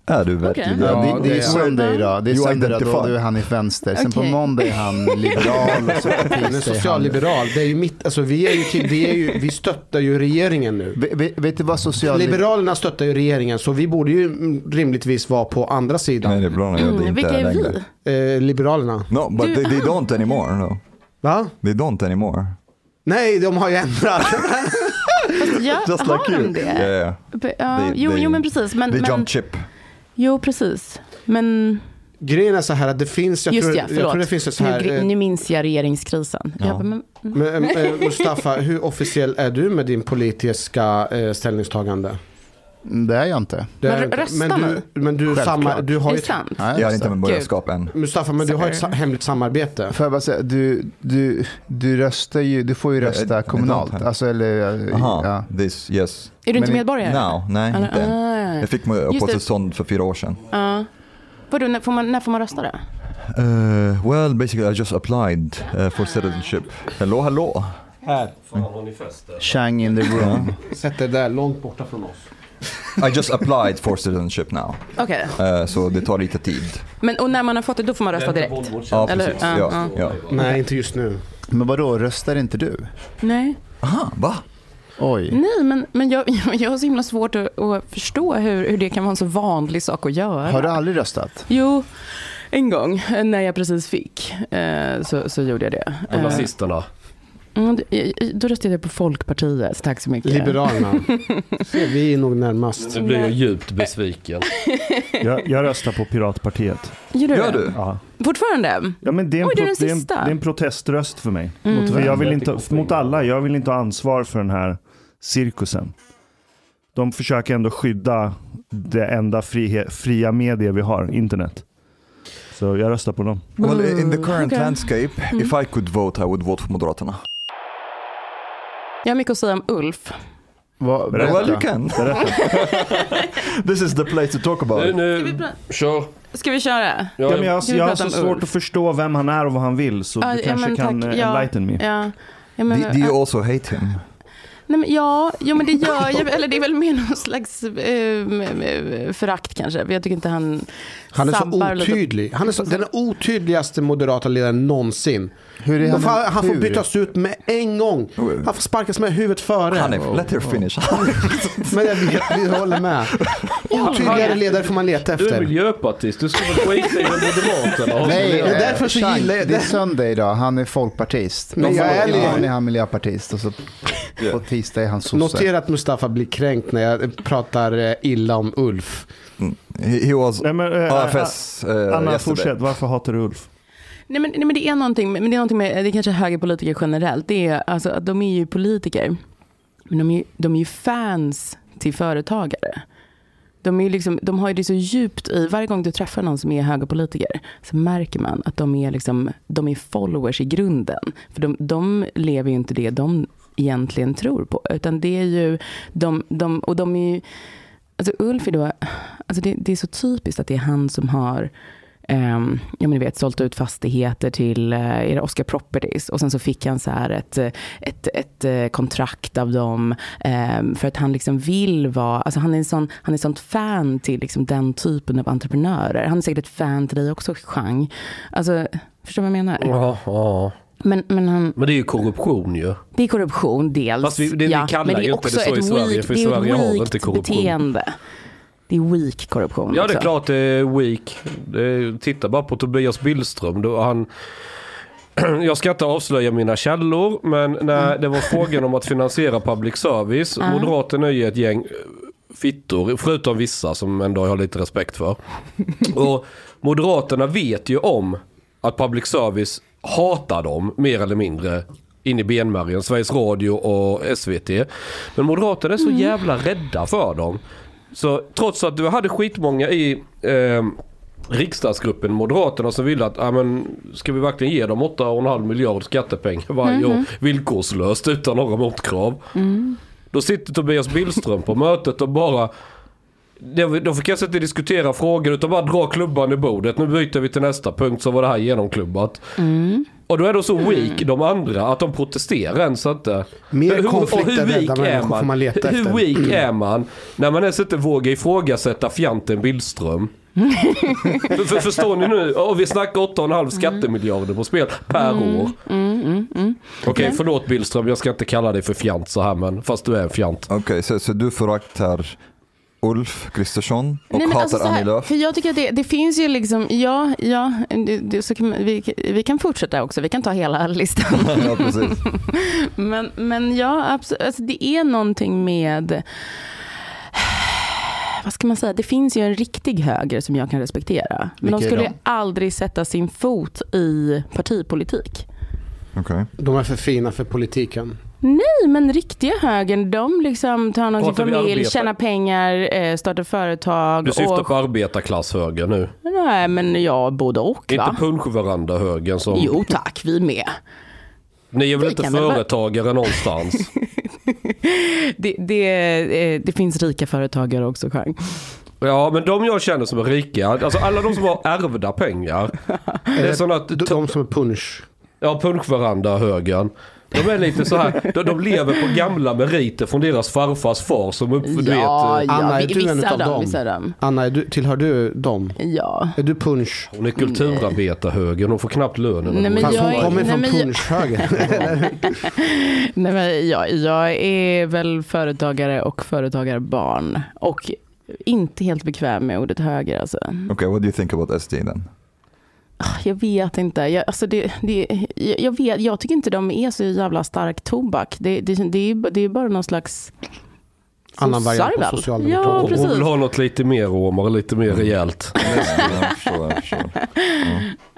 S1: Är du verkligen?
S4: Ja, det, det är
S5: det är jag.
S4: söndag idag. Det är
S1: You
S4: söndag idag,
S1: identify.
S4: då är han i vänster. Sen på
S2: Okej.
S4: måndag är han liberal och så på
S5: Men en
S4: tisdag är han...
S5: socialliberal, det är ju mitt, alltså vi är ju, till, vi är ju, vi stöttar ju regeringen nu.
S4: Ve- ve- Vet du vad socialliberal...
S5: Liberalerna stöttar ju regeringen så vi borde ju mm, rimligtvis vara på andra
S1: Nej,
S5: sidan.
S1: det är bra när jag det inte
S2: Mm, Vilka
S1: är
S2: är
S1: längre.
S2: vi?
S5: Eh, liberalerna.
S1: No, but they, they don't anymore. No.
S5: Va?
S1: They don't anymore.
S5: Nej, de har ju ändrat. [laughs]
S2: Ja,
S1: [laughs] Just
S2: har
S1: like
S2: de
S1: you.
S2: det?
S1: Yeah, yeah.
S2: Be- ja,
S1: They-
S2: jo,
S1: they-
S2: jo, men precis. Men,
S1: They
S2: men,
S1: jump chip.
S2: jo, precis. Men
S5: Grejen är så här att det finns, jag,
S2: just
S5: tror,
S2: ja,
S5: jag
S2: förlåt.
S5: tror det finns ett så här.
S2: nu, gr-
S5: eh,
S2: nu minns jag regeringskrisen.
S1: Ja.
S2: Jag bara, men,
S5: Men, eh, Mustafa, hur officiell är du med din politiska eh, ställningstagande?
S4: Mm, Det är jag inte.
S5: Du
S2: Men
S5: är
S2: rö-
S5: inte-
S2: röstar
S5: men du, men du,
S4: Självklart.
S5: samma, du
S2: är
S5: har ju
S2: det
S5: ett,
S2: sant?
S4: Nej,
S1: Jag är
S4: just
S1: inte
S4: det.
S1: med borgarskap än.
S5: Mustafa, men du har ett
S2: Sorry.
S5: sa- hemligt samarbete.
S4: Får jag bara säga, du, du, du, röstar ju, du får ju
S1: Eh,
S4: rösta kommunalt.
S1: eh,
S4: Alltså, eller,
S1: Aha,
S4: ja.
S1: this, yes.
S2: Är du inte
S4: Men-
S2: medborgare?
S1: Now, nej
S2: Eller-
S1: inte än.
S2: ah.
S1: Jag fick mig
S2: det.
S1: uppehållstillstånd för fyra år sedan.
S2: Ja. Vadå, när får man, när får man rösta då?
S1: Eh, well, basically I just applied eh,
S2: Ah.
S1: for citizenship. Hallå, hallå.
S4: Chang in the room.
S5: Sätt dig där långt borta från oss.
S1: I just applied for citizenship now.
S2: Okej,
S1: Eh, så det tar lite tid.
S2: men, och när man har fått det då får man rösta direkt?
S1: Ja,
S2: Eller
S1: precis.
S2: hur? Ja,
S1: Ja, ja.
S5: Nej, inte just nu.
S4: Men vadå, röstar inte du?
S2: Nej.
S1: Aha, va?
S4: Oj.
S2: Nej, men, men jag, [laughs] jag, jag har så himla svårt att, att förstå hur, hur det kan vara en så vanlig sak att göra.
S4: Har du aldrig röstat?
S2: Jo, en gång eh, när jag precis fick eh, så, så gjorde jag det. Eh,
S7: Nazisterna.
S2: mm, d- eh, då röstade jag på Folkpartiet, tack så mycket. [laughs]
S5: Liberalerna. Se, vi är nog närmast.
S7: Nu blir jag djupt besviken.
S3: Jag, jag röstar på Piratpartiet.
S2: Gör du?
S1: Gör
S2: det?
S1: du?
S3: Ja.
S2: Fortfarande?
S3: Ja, men det, är en
S2: Oj, det är den
S3: pro- det, är en, det
S2: sista.
S3: är en proteströst för mig.
S2: Mm.
S3: Mot, för jag vill inte,
S7: Väldigt
S3: mot alla. Jag vill inte ha ansvar för den här cirkusen. De försöker ändå skydda det enda frihe, fria media vi har, internet. Så jag röstar på dem.
S1: Well, in the current
S2: Mm, Okej. Mm.
S1: landscape, if I could vote I would vote för Moderaterna.
S2: Jag har mycket att säga om Ulf.
S4: Vad-
S3: Berätta.
S1: Well, you can.
S7: [laughs]
S1: This is the place to talk about
S7: Nu,
S1: it.
S7: nu, kör.
S2: Ska vi köra?
S7: Ja,
S3: Ja, men jag,
S2: Ska vi
S3: jag har
S2: prata
S3: så
S2: om
S3: svårt
S2: Ulf?
S3: att förstå vem han är och vad han vill, så
S2: Ja,
S3: du
S2: ja,
S3: kanske
S2: men
S3: kan
S2: tack.
S3: eh,
S2: Ja.
S3: enlighten me.
S2: Ja. Ja, men, eh,
S1: Do, do you also hate him?
S2: Nej, men ja, jo, men det gör jag. Eller det är väl mer någon slags eh, förakt kanske. För Jag tycker inte han
S5: Han är
S2: sabbar typ-
S5: så
S2: lite.
S5: otydlig. Han är så, den otydligaste moderata ledaren någonsin.
S4: Hur är
S5: Han,
S4: han?
S5: får, han får
S4: hur?
S5: bytas ut med en gång. Han får sparkas med huvudet före.
S1: Hanif, let
S2: [laughs]
S1: her finish.
S5: Men jag vet, vi håller
S7: [laughs]
S5: med. Otydligare ledare får man leta
S7: Du är
S5: efter.
S7: miljöpartist, du ska väl skita i [laughs] vad Moderaterna har
S4: Nej,
S7: för
S5: Och
S4: eh,
S5: därför så
S4: Chang,
S5: gillar jag-
S4: det är söndag idag, han är folkpartist.
S5: Men jag är
S4: Imorgon
S5: ärlig.
S4: är han miljöpartist och så på tisdag är han sosse.
S5: Notera att Mustafa blir kränkt när jag pratar eh, illa om Ulf.
S1: he, he was
S3: Nej, men, eh,
S1: AFS eh,
S3: Anna,
S1: yesterday.
S3: fortsätt. Varför hatar du Ulf?
S2: Nej men, nej men det är någonting, men det är någonting med, det är kanske högerpolitiker generellt, det är alltså att de är ju politiker, men de är, ju- de är ju fans till företagare. De, är ju liksom, de har ju det så djupt i, varje gång du träffar någon som är högerpolitiker så märker man att de är, liksom, de är followers i grunden. För de, de lever ju inte det de egentligen tror på. Utan det är ju, de, de, och de är ju, alltså Ulf är då, alltså det, det är så typiskt att det är han som har ehm, ja, men ni vet, sålt ut fastigheter till eh, är det Oscar Properties och sen så fick han så här ett, eh, ett, ett eh, kontrakt av dem ehm, för att han liksom vill vara, alltså han är en sån, han är sånt fan till liksom den typen av entreprenörer. Han är säkert ett fan till dig också, Chang. Alltså, förstår du vad jag menar?
S7: Ja, ja.
S2: Men, men han,
S7: Men det är ju korruption ju.
S2: det är korruption dels.
S7: Fast vi- det- vi kallar
S2: men
S7: ju inte det så i Sverige,
S2: weak-
S7: för i
S2: det är ju
S7: Sverige har vi
S2: weakt
S7: inte korruption.
S2: beteende. Det är weak korruption
S7: Ja, det är
S2: också.
S7: klart det är weak. Det är- Titta bara på Tobias Billström. Då han, [clears throat] jag ska inte avslöja mina källor, men när det var frågan om att finansiera public service,
S2: Ja.
S7: Moderaterna är ju ett gäng eh, fittor, förutom vissa som ändå jag har lite respekt för. [laughs] Och Moderaterna vet ju om att public service hatar dem mer eller mindre in i benmärgen, Sveriges Radio och SVT. Men Moderaterna är så jävla rädda för dem. Så trots att du hade skitmånga i eh, riksdagsgruppen, Moderaterna, som ville att ja, men, ska vi verkligen ge dem 8,5 miljard skattepengar varje år villkorslöst utan några motkrav. Då sitter Tobias Billström på mötet och bara... det- De fick kanske inte diskutera frågor utan bara dra klubban i bordet. Nu byter vi till nästa punkt så var det här genomklubbat. Och då är de så weak de andra att de protesterar ens inte.
S5: Mer
S7: och
S5: konflikter rädda människor får man leta
S7: hur
S5: efter. [clears throat]
S7: weak är man när man ens inte vågar ifrågasätta fjanten Billström? för, för, förstår ni nu? Ja, vi snackar 8,5 skattemiljarder på spel per år. Okej, förlåt Billström. Jag ska inte kalla dig för fjant så här, men fast du är en fjant.
S1: Okej, så, så du föraktar Ulf Kristersson och
S2: men
S1: hatar
S2: alltså så här,
S1: Annie Lööf?
S2: För jag tycker att det, det finns ju liksom, ja, ja, det, det, så kan, man- vi, vi kan fortsätta också, vi kan ta hela
S7: [laughs]
S2: listan. [laughs]
S1: ja, precis.
S2: Men, men ja, absolut. Alltså, det är någonting med... [sighs] Vad ska man säga? Det finns ju en riktig höger som jag kan respektera. Men
S4: Vilka
S2: de
S4: är
S2: skulle
S4: de?
S2: ju aldrig sätta sin fot i partipolitik.
S1: Okej.
S6: De är för fina för politiken.
S2: Nej, men riktiga högern, de liksom tar hand om
S7: Pratar
S2: sin
S7: vi
S2: familj,
S7: arbetare?
S2: tjänar pengar, eh, startar företag.
S7: Du syftar
S2: och,
S7: på arbetarklasshöger nu.
S2: Nej, men ja, både och
S7: Inte
S2: va?
S7: punschveranda-högern som...
S2: Jo tack, vi med.
S7: Ni är väl
S2: Vi
S7: inte
S2: kan väl vara- [laughs]
S7: företagare någonstans?
S2: Det, det, eh, det finns rika företagare också, Chang.
S7: Ja, men de jag känner som är rika, alltså alla de som har ärvda pengar. Det är
S2: [laughs]
S7: sådana att...
S6: De, de som är punch.
S7: Ja, punschveranda högern. De är lite så här, de, de lever på gamla meriter från deras farfars far som upp, du
S2: Ja,
S7: vet, eh,
S2: ja,
S6: Anna, är
S2: vi-
S6: du en
S2: vissa
S6: utav
S2: dem,
S6: dem?
S2: vissa dem.
S6: Anna, är du, tillhör du dem?
S2: Ja.
S6: Är du punch?
S7: eh, hon är kulturarbetarhögern, hon får knappt lönen.
S2: Nej, men
S6: Fast
S2: jag
S6: hon
S2: är-
S6: kommer
S2: nej,
S6: från
S2: men jag-
S5: [laughs]
S2: [laughs]
S6: punschhögern.
S2: Nej, men jag, jag är väl företagare och företagarbarn. Och inte helt bekväm med ordet höger. Alltså.
S1: Okej, what do you think about SD then?
S2: Ah, Jag vet inte. Jag, alltså det, det, jag, jag vet, jag tycker inte de är så jävla stark tobak. Det, det, det, är, ju- det är bara någon slags...
S6: Annan variant på
S2: sossar väl?
S6: Socialdemokraterna.
S2: Ja,
S7: hon, hon
S2: precis.
S7: vill ha något lite mer romare, lite mer rejält.
S1: Jag förstår, jag förstår.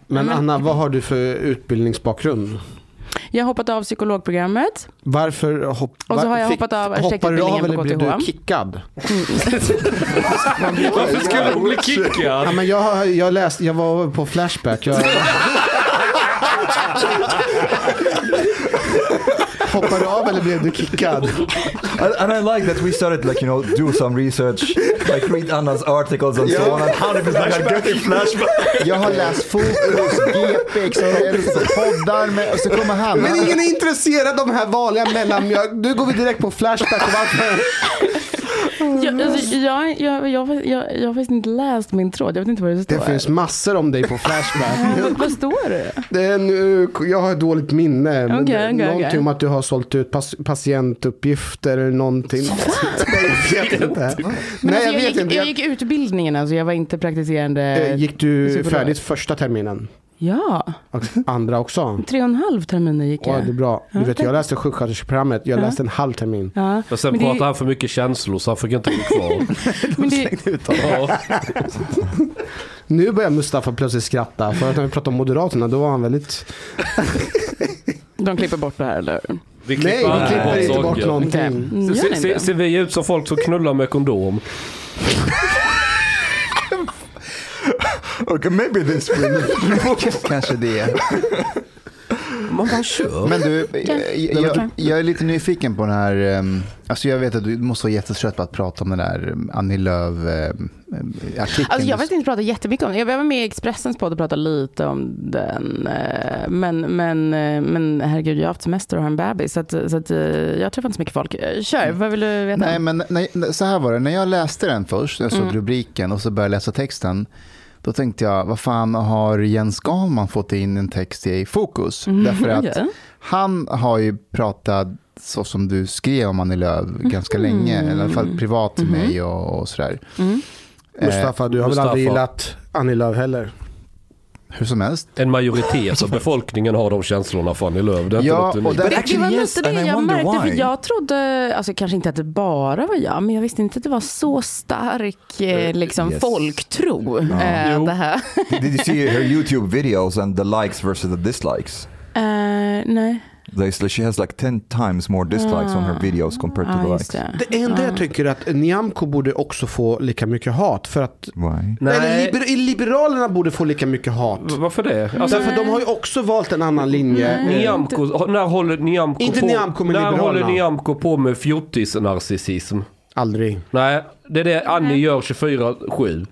S6: Men
S2: Mm.
S6: Anna, vad har du för utbildningsbakgrund?
S2: Jag har hoppat av psykologprogrammet.
S6: Varför hopp,
S2: Och så har jag
S6: fick-
S2: hoppat av
S6: Hoppar du av
S2: arkitektutbildningen
S6: eller
S2: på
S6: blev du
S2: KTH.
S6: kickad?
S7: Varför skulle hon bli
S6: Ja,
S7: kickad?
S6: men jag, jag, läste, jag var på Flashback. Jag hoppar du av eller blev du kickad?
S1: And, and I like that we started like you know do some research, like read Anna's articles and so on. And hundred percent I get it flashback.
S4: Jag har läst Fokus, GP, Expressen, poddar med, och så kommer han.
S6: Men ingen är intresserad av de här vanliga mellanmjölk. Nu går vi direkt på Flashback. Och varför?
S2: Jag, alltså, jag, jag, jag, jag, jag har faktiskt inte läst min tråd. Jag vet inte vad det står.
S6: Det finns massor om dig
S2: [laughs]
S6: på Flashback.
S2: Vad står det?
S6: Det är nu, jag har dåligt minne. Men
S2: Okej,
S6: det är
S2: okej,
S6: någonting
S2: okej.
S6: om att du har sålt ut pas, patientuppgifter eller någonting. [laughs] jag vet inte.
S2: Men
S6: Nej, jag
S2: alltså, jag,
S6: vet
S2: gick,
S6: inte.
S2: jag
S6: Jag,
S2: gick utbildningen, alltså, jag var inte praktiserande.
S6: eh, gick du
S2: psykolog.
S6: färdigt första terminen?
S2: Ja,
S6: Och andra också?
S2: tre och en halv terminer gick
S6: Ja,
S2: jag.
S6: det är bra. Du vet, jag läste sjuksköterskeprogrammet. Jag läste en halv termin.
S2: Ja,
S7: Men sen
S2: Men det-
S7: pratade han för mycket känslor så han fick inte gå kvar.
S2: men
S6: [laughs]
S2: det,
S7: Ja.
S6: Nu börjar Mustafa plötsligt skratta. För att när vi pratade om Moderaterna, då var han väldigt...
S2: de klipper bort det här eller?
S7: Vi
S6: Nej,
S7: aldrig bort
S6: vi klipper inte bort
S7: saker.
S6: någonting.
S2: Gör
S7: Se-
S2: ni
S7: se-
S2: inte?
S7: Ser vi ut som folk som knullar med kondom?
S1: Okay, maybe this will.
S4: [laughs] Kanske det.
S7: Man bara kör.
S4: Men du, eh, jag, jag, jag är lite nyfiken på den här, ehm, alltså jag vet att du måste vara jättetrött på att prata om den där ehm, Annie ehm, Lööf-artikeln.
S2: Alltså jag har faktiskt inte pratat jättemycket om det. Jag var med i Expressens podd och pratade lite om den. eh, Men, men, eh, men herregud, jag har haft semester och har en bebis. Så, att, så att, eh, jag träffar inte så mycket folk. Eh, Kör, vad Mm. vill du veta?
S4: Nej, men nej, nej, så här var det. När jag läste den först, jag såg rubriken och så började jag läsa texten. Då tänkte jag, vad fan har Jens Gahlman fått in en text i Fokus?
S2: Mm. [laughs]
S4: Därför att
S2: okej.
S4: han har ju pratat så som du skrev om Annie Lööf ganska länge, eller i alla
S2: Mm.
S4: fall privat till
S2: Mm-hmm.
S4: mig och, och sådär.
S6: Mustafa, du har väl
S7: Mustafa.
S6: aldrig gillat Annie Lööf heller?
S4: Eh, Hur som helst.
S7: En majoritet av befolkningen har de känslorna för Annie Lööf. Det är
S4: Ja,
S7: inte
S4: och
S7: något
S4: där-
S7: unikt.
S2: Det,
S1: Actually,
S2: det var
S1: yes,
S2: lite
S1: and
S2: det
S1: I
S2: jag
S1: wonder
S2: märkte.
S1: why.
S2: För jag trodde, alltså kanske inte att det bara var jag, men jag visste inte att det var så stark eh, liksom,
S1: yes.
S2: folktro. eh, det här.
S1: Did you see her YouTube videos and the likes versus the dislikes?
S2: Eh, nej.
S1: They, she has like 10 times more dislikes on her videos compared to the
S2: Ja, just
S1: likes.
S2: det.
S5: Det enda jag tycker är att Nyamko borde också få lika mycket hat. För att,
S1: Why?
S5: eller liber, Liberalerna borde få lika mycket hat.
S7: V- Varför det? Alltså,
S5: Därför att de har ju också valt en annan linje.
S2: Mm.
S7: Nyamko, när håller Nyamko
S5: Inte
S7: på,
S5: Nyamko, men
S7: när
S5: Liberalerna.
S7: håller Nyamko på med fjortis-narcissism?
S5: Aldrig.
S7: Nej, det är det Annie gör 24-7.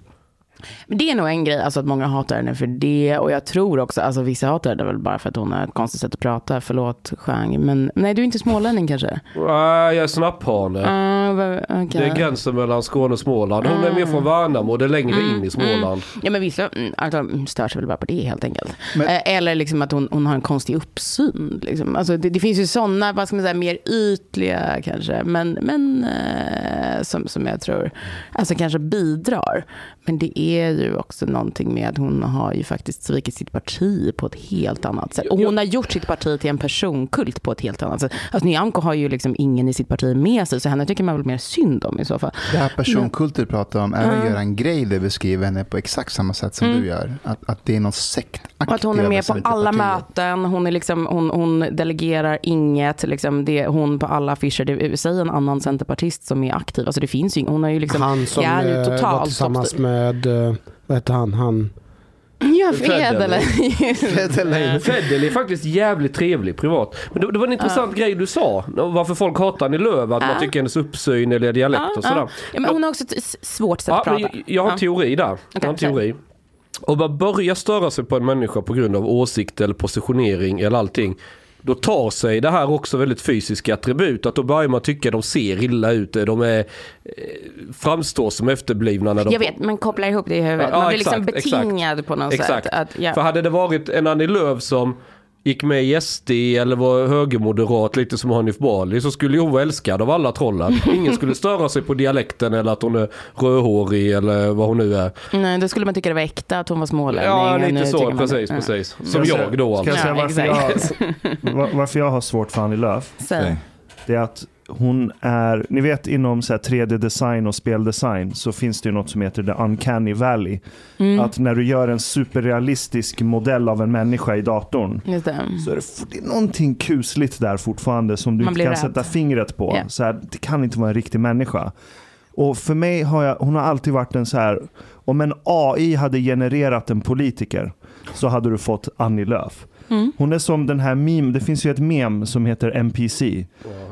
S2: Men det är nog en grej, alltså att många hatar henne för det. Och jag tror också, alltså vissa hatar henne väl bara för att hon har ett konstigt sätt att prata. Förlåt Chang, men nej du är inte smålänning kanske?
S7: Nej, jag är snapphane.
S2: Ah, va-
S7: Det
S2: okej. Ah.
S7: är gränsen mellan Skåne och Småland. Hon är mer från Värnamo, det är längre
S2: Mm,
S7: in i Småland.
S2: Ja men vissa mm, antagligen stör sig väl bara på det helt enkelt. Eh, Eller liksom att hon, hon har en konstig uppsyn. Liksom. Alltså, det, det finns ju sådana, vad ska man säga, mer ytliga kanske. Men, men eh, som, som jag tror alltså, kanske bidrar. Men det är ju också någonting med att hon har ju faktiskt svikit sitt parti på ett helt annat sätt. Och hon har gjort sitt parti till en personkult på ett helt annat sätt. Alltså Nyamko har ju liksom ingen i sitt parti med sig. Så henne tycker man väl mer synd om i så fall.
S4: Det här personkulter du pratar om, även Göran Greider beskriver henne på exakt samma sätt som du gör. Att, att det är någon
S2: Och
S4: sektaktig
S2: Mm. att hon är med på
S4: representant i
S2: alla
S4: partiet.
S2: möten, hon, är liksom, hon, hon delegerar inget, liksom det är hon på alla affischer. Det, säg en annan centerpartist som är aktiv, alltså det finns ju ing- hon har ju liksom,
S5: Han som
S2: det är ju
S5: eh, var
S2: totalt
S5: tillsammans
S2: toppstyrt.
S5: med, eh, vad hette han? han
S2: Ja, Fred eller?
S5: Fredelein.
S7: Fedel Eh, är faktiskt jävligt trevlig privat. Men det, det var en intressant grej du sa. Varför folk hatar Annie Lööf, att man tycker hennes uppsyn eller dialekt och sådär.
S2: ja, men hon har också ett s- svårt sätt
S7: Ja,
S2: att
S7: men
S2: prata.
S7: jag, jag har en
S2: Ja.
S7: teori där. jag har en
S2: Okej,
S7: teori. Om man börjar störa sig på en människa på grund av åsikt eller positionering eller allting. Då tar sig det här också väldigt fysiska attribut. Att då börjar man tycka de ser illa ut. De är, eh, framstår som efterblivna när de
S2: Jag vet, men kopplar ihop det i huvudet.
S7: Ja,
S2: Man blir
S7: exakt,
S2: liksom betingad på något
S7: Exakt.
S2: sätt. Att,
S7: För
S2: ja.
S7: hade det varit en Annie Lööf som gick med i SD eller var högermoderat lite som Hanif Bali så skulle ju hon vara älskad av
S2: [laughs]
S7: alla trollen. Ingen skulle störa sig på dialekten eller att hon är rödhårig eller vad hon nu är.
S2: Nej, då skulle man tycka det var äkta att hon var smålänning.
S7: Ja,
S2: och nu
S7: lite
S2: tycker
S7: så.
S2: man-
S7: Precis,
S2: ja.
S7: precis. Som
S3: Ska
S7: jag då
S3: Ska
S7: alltså.
S3: jag säga
S2: Ja,
S3: varför jag, [laughs] var- varför jag har svårt för Annie Lööf?
S2: Säg.
S1: Okej.
S3: Det är att hon är, ni vet inom så här 3D-design och speldesign så finns det ju något som heter the uncanny valley.
S2: Mm.
S3: Att när du gör en superrealistisk modell av en människa i datorn
S2: Just det.
S3: så är det, f- det är någonting kusligt där fortfarande som du
S2: Man
S3: inte
S2: blir
S3: kan
S2: rädd.
S3: sätta fingret på.
S2: Ja.
S3: Så här, det kan inte vara en riktig människa. Och för mig har jag, hon har alltid varit en så här, om en AI hade genererat en politiker så hade du fått Annie Lööf.
S2: Mm.
S3: Hon är som den här meme, det finns ju ett meme som heter NPC.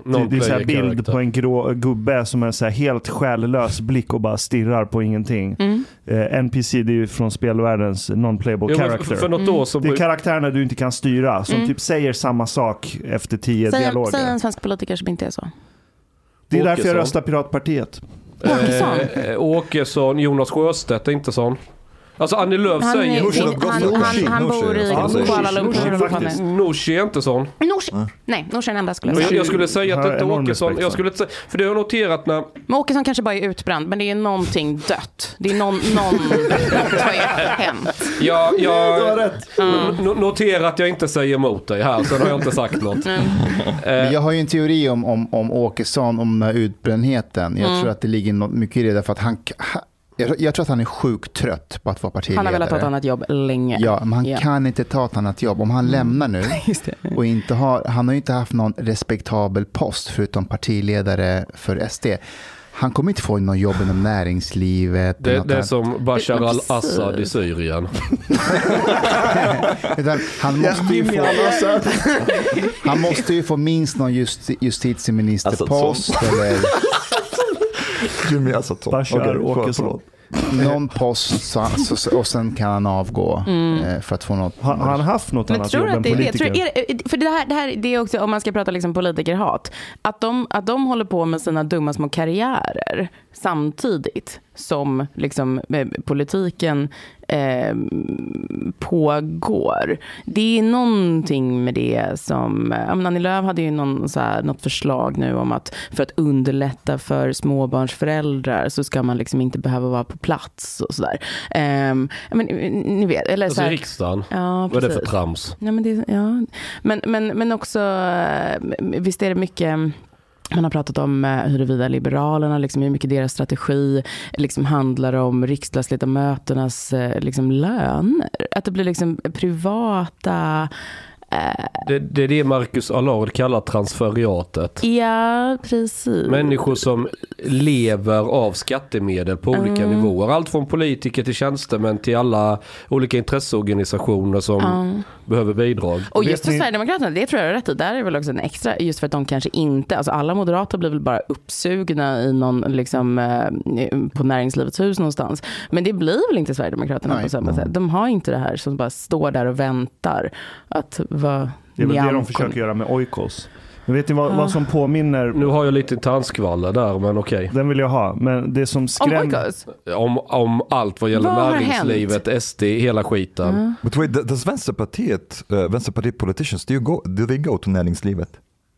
S3: Det, det är så här bild på en grå gubbe som är så här helt själlös blick och bara stirrar på ingenting.
S2: Mm.
S3: Eh, NPC det är ju från spelvärldens non-playable
S7: Jo, men
S3: character.
S7: För något år så...
S3: Det är karaktärerna du inte kan styra
S2: Mm.
S3: som typ säger samma sak efter tio
S2: Säg, en-
S3: dialoger.
S2: säg en svensk politiker som inte är så.
S3: Det är därför
S7: Åkesson.
S3: jag röstar Piratpartiet.
S2: Åkesson.
S7: Eh, eh, Åkesson, Jonas Sjöstedt är inte sån. Alltså Annie Lööf
S2: Han, är,
S7: säger...
S1: Nooshi
S2: in, han, han,
S1: Nooshi,
S2: han
S1: Nooshi,
S2: bor
S1: ska
S2: i
S1: man säga.
S2: Kuala
S3: Nooshi,
S2: Lumpur.
S3: faktiskt.
S7: Nooshi är inte sån.
S2: Nooshi. Nej, Nooshi är den enda jag skulle
S7: Och
S2: säga.
S7: jag, jag skulle säga att
S3: Alltså, Har
S7: inte
S3: enorm
S7: Åkesson,
S3: respekt
S7: jag
S3: för.
S7: skulle inte säga, för det har jag
S2: [laughs]
S7: noterat när,
S2: Men Åkesson kanske bara är utbränd, men det är någonting dött. Det är någon,
S1: [laughs]
S2: någon något har ju hänt.
S7: jag, jag no- no- noterar att jag inte säger emot dig här, sen har jag inte
S2: [laughs]
S7: sagt något. Eh,
S4: Men jag har ju en teori om, om, om Åkesson, om den här utbrändheten.
S2: Mm.
S4: Jag tror att det ligger något mycket i det, därför att han... han- Jag, jag tror att han är sjukt trött på att vara partiledare.
S2: Han har velat ta ett annat jobb länge.
S4: Ja, men han
S2: Ja. Mm.
S4: kan inte ta ett annat jobb. Om han
S2: [laughs]
S4: lämnar nu och inte har, han har ju inte haft någon respektabel post förutom partiledare för SD. Han kommer inte få något jobb inom näringslivet. eller
S7: Det,
S4: något
S7: det är
S4: annat.
S7: som Bashar
S2: Det är
S7: al-Assad i
S2: absurd.
S7: Syrien.
S4: Utan han, måste ju få, han måste ju få minst någon just, justitieministerpost eller
S1: Jimmy Assaton.
S3: Bashar
S1: Okej, för-
S3: Åkesson.
S1: förlåt.
S4: någon post så, så- så, och sen kan han avgå
S2: Mm.
S4: eh, för att få något.
S3: Har har han haft något
S2: Men
S3: annat
S2: tror
S3: jobb
S2: du att
S3: än
S2: det är det?
S3: politiker?
S2: Tror, du- är, det- för det här, det här det är också, om man ska prata liksom politikerhat, att de, att de håller på med sina dumma små karriärer samtidigt som liksom, eh, politiken eh, pågår. Det är någonting med det som, eh, ja, men Annie Lööf hade ju någon, så här, något förslag nu om att för att underlätta för småbarnsföräldrar så ska man liksom inte behöva vara på plats och sådär. Eh, men, eh, ni vet, eller så
S7: Alltså i
S2: här,
S7: riksdagen.
S2: Ja,
S7: Vad är det
S2: precis.
S7: för trams?
S2: Nej, men, det, ja. men, men, men också, eh, visst är det mycket mm, man har pratat om eh, huruvida Liberalerna, liksom, hur mycket deras strategi liksom, handlar om riksdagsledamöternas eh, liksom, löner. Att det blir liksom privata
S7: Det, det är det Marcus Allard kallar transferiatet.
S2: Ja, precis.
S7: Människor som lever av skattemedel på olika
S2: Mm.
S7: nivåer. Allt från politiker till tjänstemän till alla olika intresseorganisationer som
S2: Ja.
S7: behöver bidrag.
S2: Och
S3: Vet
S2: just för
S3: ni-
S2: Sverigedemokraterna, det tror jag är rätt i. Där är väl också en extra, just för att de kanske inte, alltså alla moderater blir väl bara uppsugna i någon, liksom eh, på näringslivets hus någonstans. Men det blir väl inte Sverigedemokraterna
S4: Nej.
S2: på samma sätt. De har inte det här som bara står där och väntar att vara
S3: Det är väl det de
S2: Nyamko. Ah.
S3: försöker göra med Oikos. Men vet ni vad, vad som påminner?
S7: Nu har jag lite tandskvaller där men okej.
S3: Den vill jag ha, men det som
S2: Om
S3: skrämmer...
S2: Oikos?
S7: Om, om allt vad gäller
S2: Vad har
S7: näringslivet, SD, hela skiten.
S1: But wait, th- does Vänsterpartiet, uh, Vänsterpartiet politicians, do, you go, do they go to näringslivet?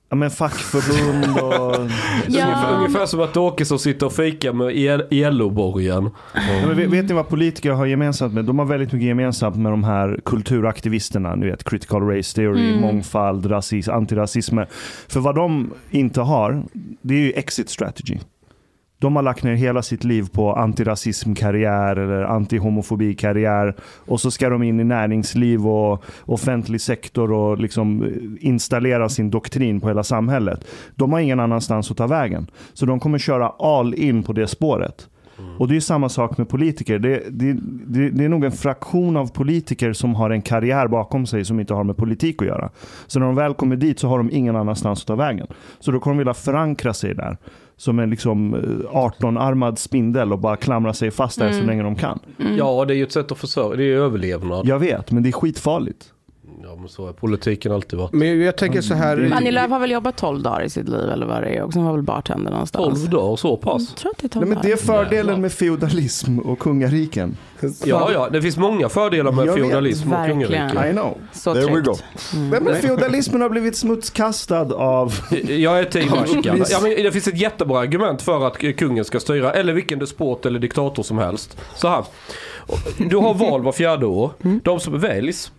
S3: Ja, men fackförbund och...
S2: Ja.
S7: Ungefär som att Åkesson sitter och fikar med ILO-borgen.
S3: Ja, men vet, vet ni vad politiker har gemensamt med? De har väldigt mycket gemensamt med de här kulturaktivisterna. Ni vet, critical race theory, mångfald, rasism, antirasism. För vad de inte har, det är ju exit strategy. De har lagt ner hela sitt liv på antirasismkarriär eller antihomofobikarriär. Och så ska de in i näringsliv och offentlig sektor och liksom installera sin doktrin på hela samhället. De har ingen annanstans att ta vägen. Så de kommer köra all in på det spåret. Mm. Och det är ju samma sak med politiker. Det, det, det, det är nog en fraktion av politiker som har en karriär bakom sig som inte har med politik att göra. Så när de väl kommer dit så har de ingen annanstans att ta vägen. Så då kommer de vilja förankra sig där. Som en liksom eh, 18-armad spindel och bara klamra sig fast där så länge de kan.
S2: Mm.
S7: Ja, det är ju ett sätt att försörja, det är ju överlevnad.
S3: Jag vet, men det är skitfarligt.
S7: Ja, men så har politiken alltid varit.
S6: Men jag tänker så här.
S2: Mm. Annie Lööf har väl jobbat 12 dagar i sitt liv eller vad det är och sen var väl bartender någonstans.
S7: 12 dagar, så pass.
S2: Jag tror att det är 12
S3: Nej, men det är
S2: dagar.
S3: fördelen med feodalism och kungariken.
S7: Ja, ja, det finns många fördelar med
S3: Jag vet,
S7: feodalism och
S2: verkligen.
S7: kungarike.
S3: I know.
S2: Så
S1: There we
S2: tryggt.
S1: go.
S3: Nej, Men feodalismen har blivit smutskastad av...
S7: Eh, Jag är team Ashkan.
S3: visst.
S7: ja, men Det finns ett jättebra argument för att kungen ska styra, eller vilken despot eller diktator som helst. Så här. Du har val var fjärde år.
S3: Mm.
S7: De som väljs,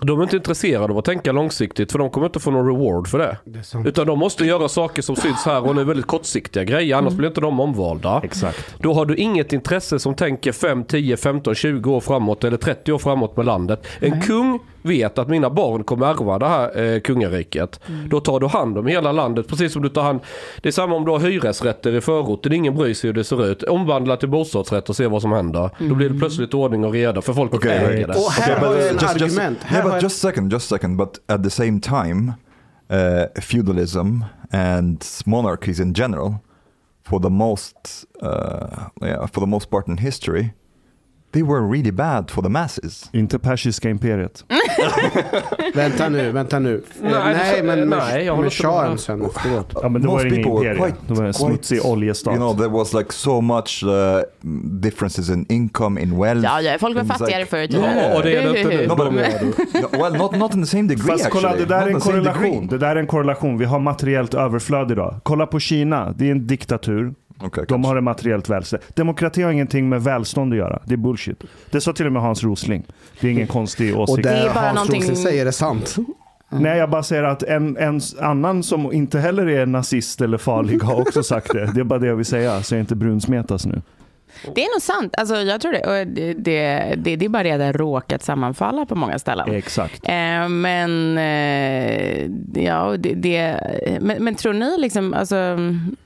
S7: de är inte intresserade av att tänka långsiktigt för de kommer inte få någon reward för det.
S6: Det är
S3: Mm.
S6: sant.
S7: Utan de måste göra saker som syns här och nu väldigt kortsiktiga grejer, annars blir inte de omvalda.
S3: Mm. Exakt.
S7: Då har du inget intresse som tänker 5, 10, 15, 20 år framåt eller 30 år framåt med landet. En kung vet att mina barn kommer ärva det här eh, kungariket. Då tar du hand om hela landet precis som du tar hand. Det är samma om du har hyresrätter i förorten. Ingen bryr sig hur det ser ut. Omvandla till bostadsrätt och se vad som händer. Då blir det plötsligt ordning och reda för folk
S1: Okej,
S7: äger
S1: right.
S7: det.
S6: Och här har jag en
S1: just,
S6: argument. Här
S1: yeah,
S6: har jag-
S1: but just second, just second. But at the same time, uh, feudalism and monarchies in general, for the most, uh, yeah, for the most part in history, they were really bad for the masses.
S3: Inte persiska imperiet.
S6: Vänta nu, vänta nu. Eh,
S7: Nej,
S6: Nej,
S7: det-
S6: men
S7: nej, jag håller
S6: men
S7: inte
S6: kör
S7: med.
S6: en sen. Förlåt.
S3: Ja, men det
S1: Most
S3: var ingen
S1: people were
S3: imperie.
S1: quite-
S3: det var en
S1: quite-
S3: smutsig oljestat.
S1: You know, there was like so much uh, differences in income, in wealth.
S2: Ja, ja, folk var
S1: Things like-
S2: fattigare förr i tiden.
S7: Ja, och det är det inte nu.
S1: No, but, no, well, not, not in the same degree
S3: Fast
S1: actually.
S3: kolla, det där
S1: Not
S3: är
S1: in
S3: en
S1: the same
S3: korrelation.
S1: degree.
S3: Det där är en korrelation. Vi har materiellt överflöd idag. Kolla på Kina. Det är en diktatur.
S1: Okej,
S3: De
S1: kanske.
S3: har en materiellt välstånd. Demokrati har ingenting med välstånd att göra. Det är bullshit. Det sa till och med Hans Rosling. Det är ingen konstig
S6: Och
S3: åsikt.
S6: det,
S2: är bara
S6: Hans
S2: någonting-
S6: Rosling säger är sant.
S3: Nej, jag bara säger att en, en annan som inte heller är nazist eller farlig har också sagt det. Det är bara det jag vill säga, så jag inte brunsmetas nu.
S2: Det är nog sant. Alltså, jag tror det. Och det, det, det, det är bara det att det har råkat sammanfalla på många ställen.
S3: Exakt.
S2: Eh, men, eh, ja, och det, det, men, men tror ni liksom, alltså,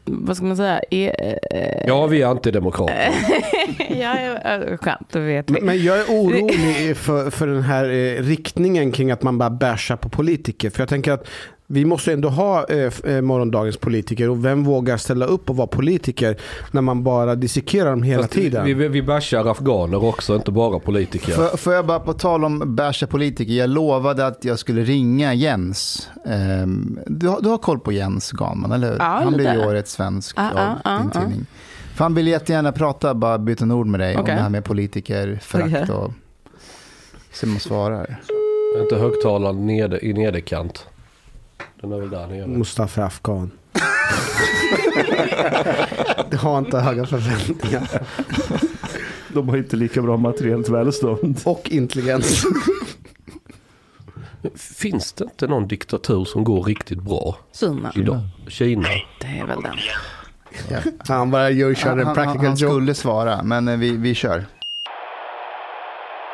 S2: vad ska man säga? Är, eh,
S7: Ja, vi är antidemokrater.
S2: [laughs] ja, ja, skönt, då vet vi.
S6: Men men jag är orolig för, för den här eh, riktningen kring att man bara bashar på politiker. För jag tänker att vi måste ändå ha eh, f- eh, morgondagens politiker och vem vågar ställa upp och vara politiker när man bara dissekerar dem hela
S7: Fast
S6: tiden?
S7: Vi, vi, vi bashar afghaner också, inte bara politiker.
S4: Får, får jag bara på tal om bärsa politiker, jag lovade att jag skulle ringa Jens. Ehm, du, har, du har koll på Jens Ganman, eller hur?
S2: Ja,
S4: han blir ju
S2: lite.
S4: årets svensk
S2: Ja,
S4: av
S2: ja,
S4: din
S2: ja,
S4: tidning. För han vill jättegärna prata, bara byta en ord med dig
S2: Okej.
S4: om det här med politiker, förakt
S2: Okej.
S4: och... Se om han svarar.
S7: Inte högtalaren neder, i nederkant. Den är väl där nere.
S6: Mustafa Afghan. [laughs] det har inte höga förväntningar.
S3: De har inte lika bra materiellt välstånd.
S6: Och intelligens.
S7: Finns det inte någon diktatur som går riktigt bra
S2: Kina,
S7: idag? Kina.
S2: det är väl den.
S6: Han bara gör, kör
S4: Han,
S6: en
S4: han, han,
S6: practical
S4: han
S6: joke.
S4: skulle svara, men eh, vi, vi kör.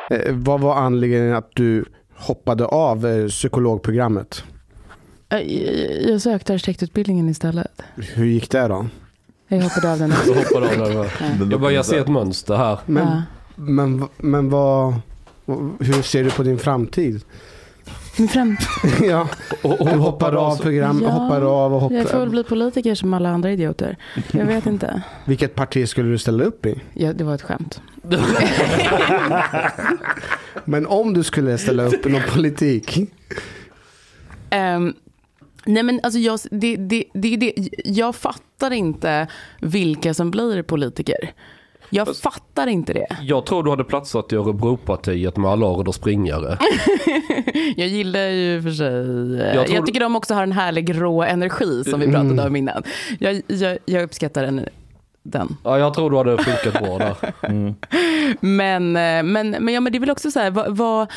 S6: Eh, vad var anledningen att du
S5: hoppade av eh, psykologprogrammet.
S2: Jag, Eh, jag sökte arkitektutbildningen istället.
S5: Hur gick det då?
S2: Jag hoppade av den.
S5: [laughs]
S7: Så hoppade jag av den. Jag bara, jag ser ett mönster här.
S5: Men,
S2: Ja.
S5: men, v- men vad, hur ser du på din framtid? [laughs]
S2: Men fram,
S5: ja,
S7: Och, och
S5: du hoppar av program,
S2: Ja,
S5: hoppar av och
S2: jag får väl
S5: hoppar.
S2: bli politiker som alla andra idioter. Jag vet inte.
S5: Vilket parti skulle du ställa upp i?
S2: Ja, det var ett skämt.
S5: Men om du skulle ställa upp i någon [laughs] politik?
S2: Ehm, nej men alltså jag, det, det, det, det, jag fattar inte vilka som blir politiker. Jag fattar inte det.
S7: Jag tror du hade platsat i Örebropartiet med Allard och springare.
S2: Jag gillar ju för sig... eh,
S7: Jag
S2: Jag,
S7: tror- Mm.
S2: tycker de också har en härlig rå energi som vi pratade om innan. Jag, jag, jag uppskattar den. den.
S7: Ja, jag tror du hade funkat bra där.
S2: Men, eh, men, men, ja, men det är väl också så här, vad, vad, eh,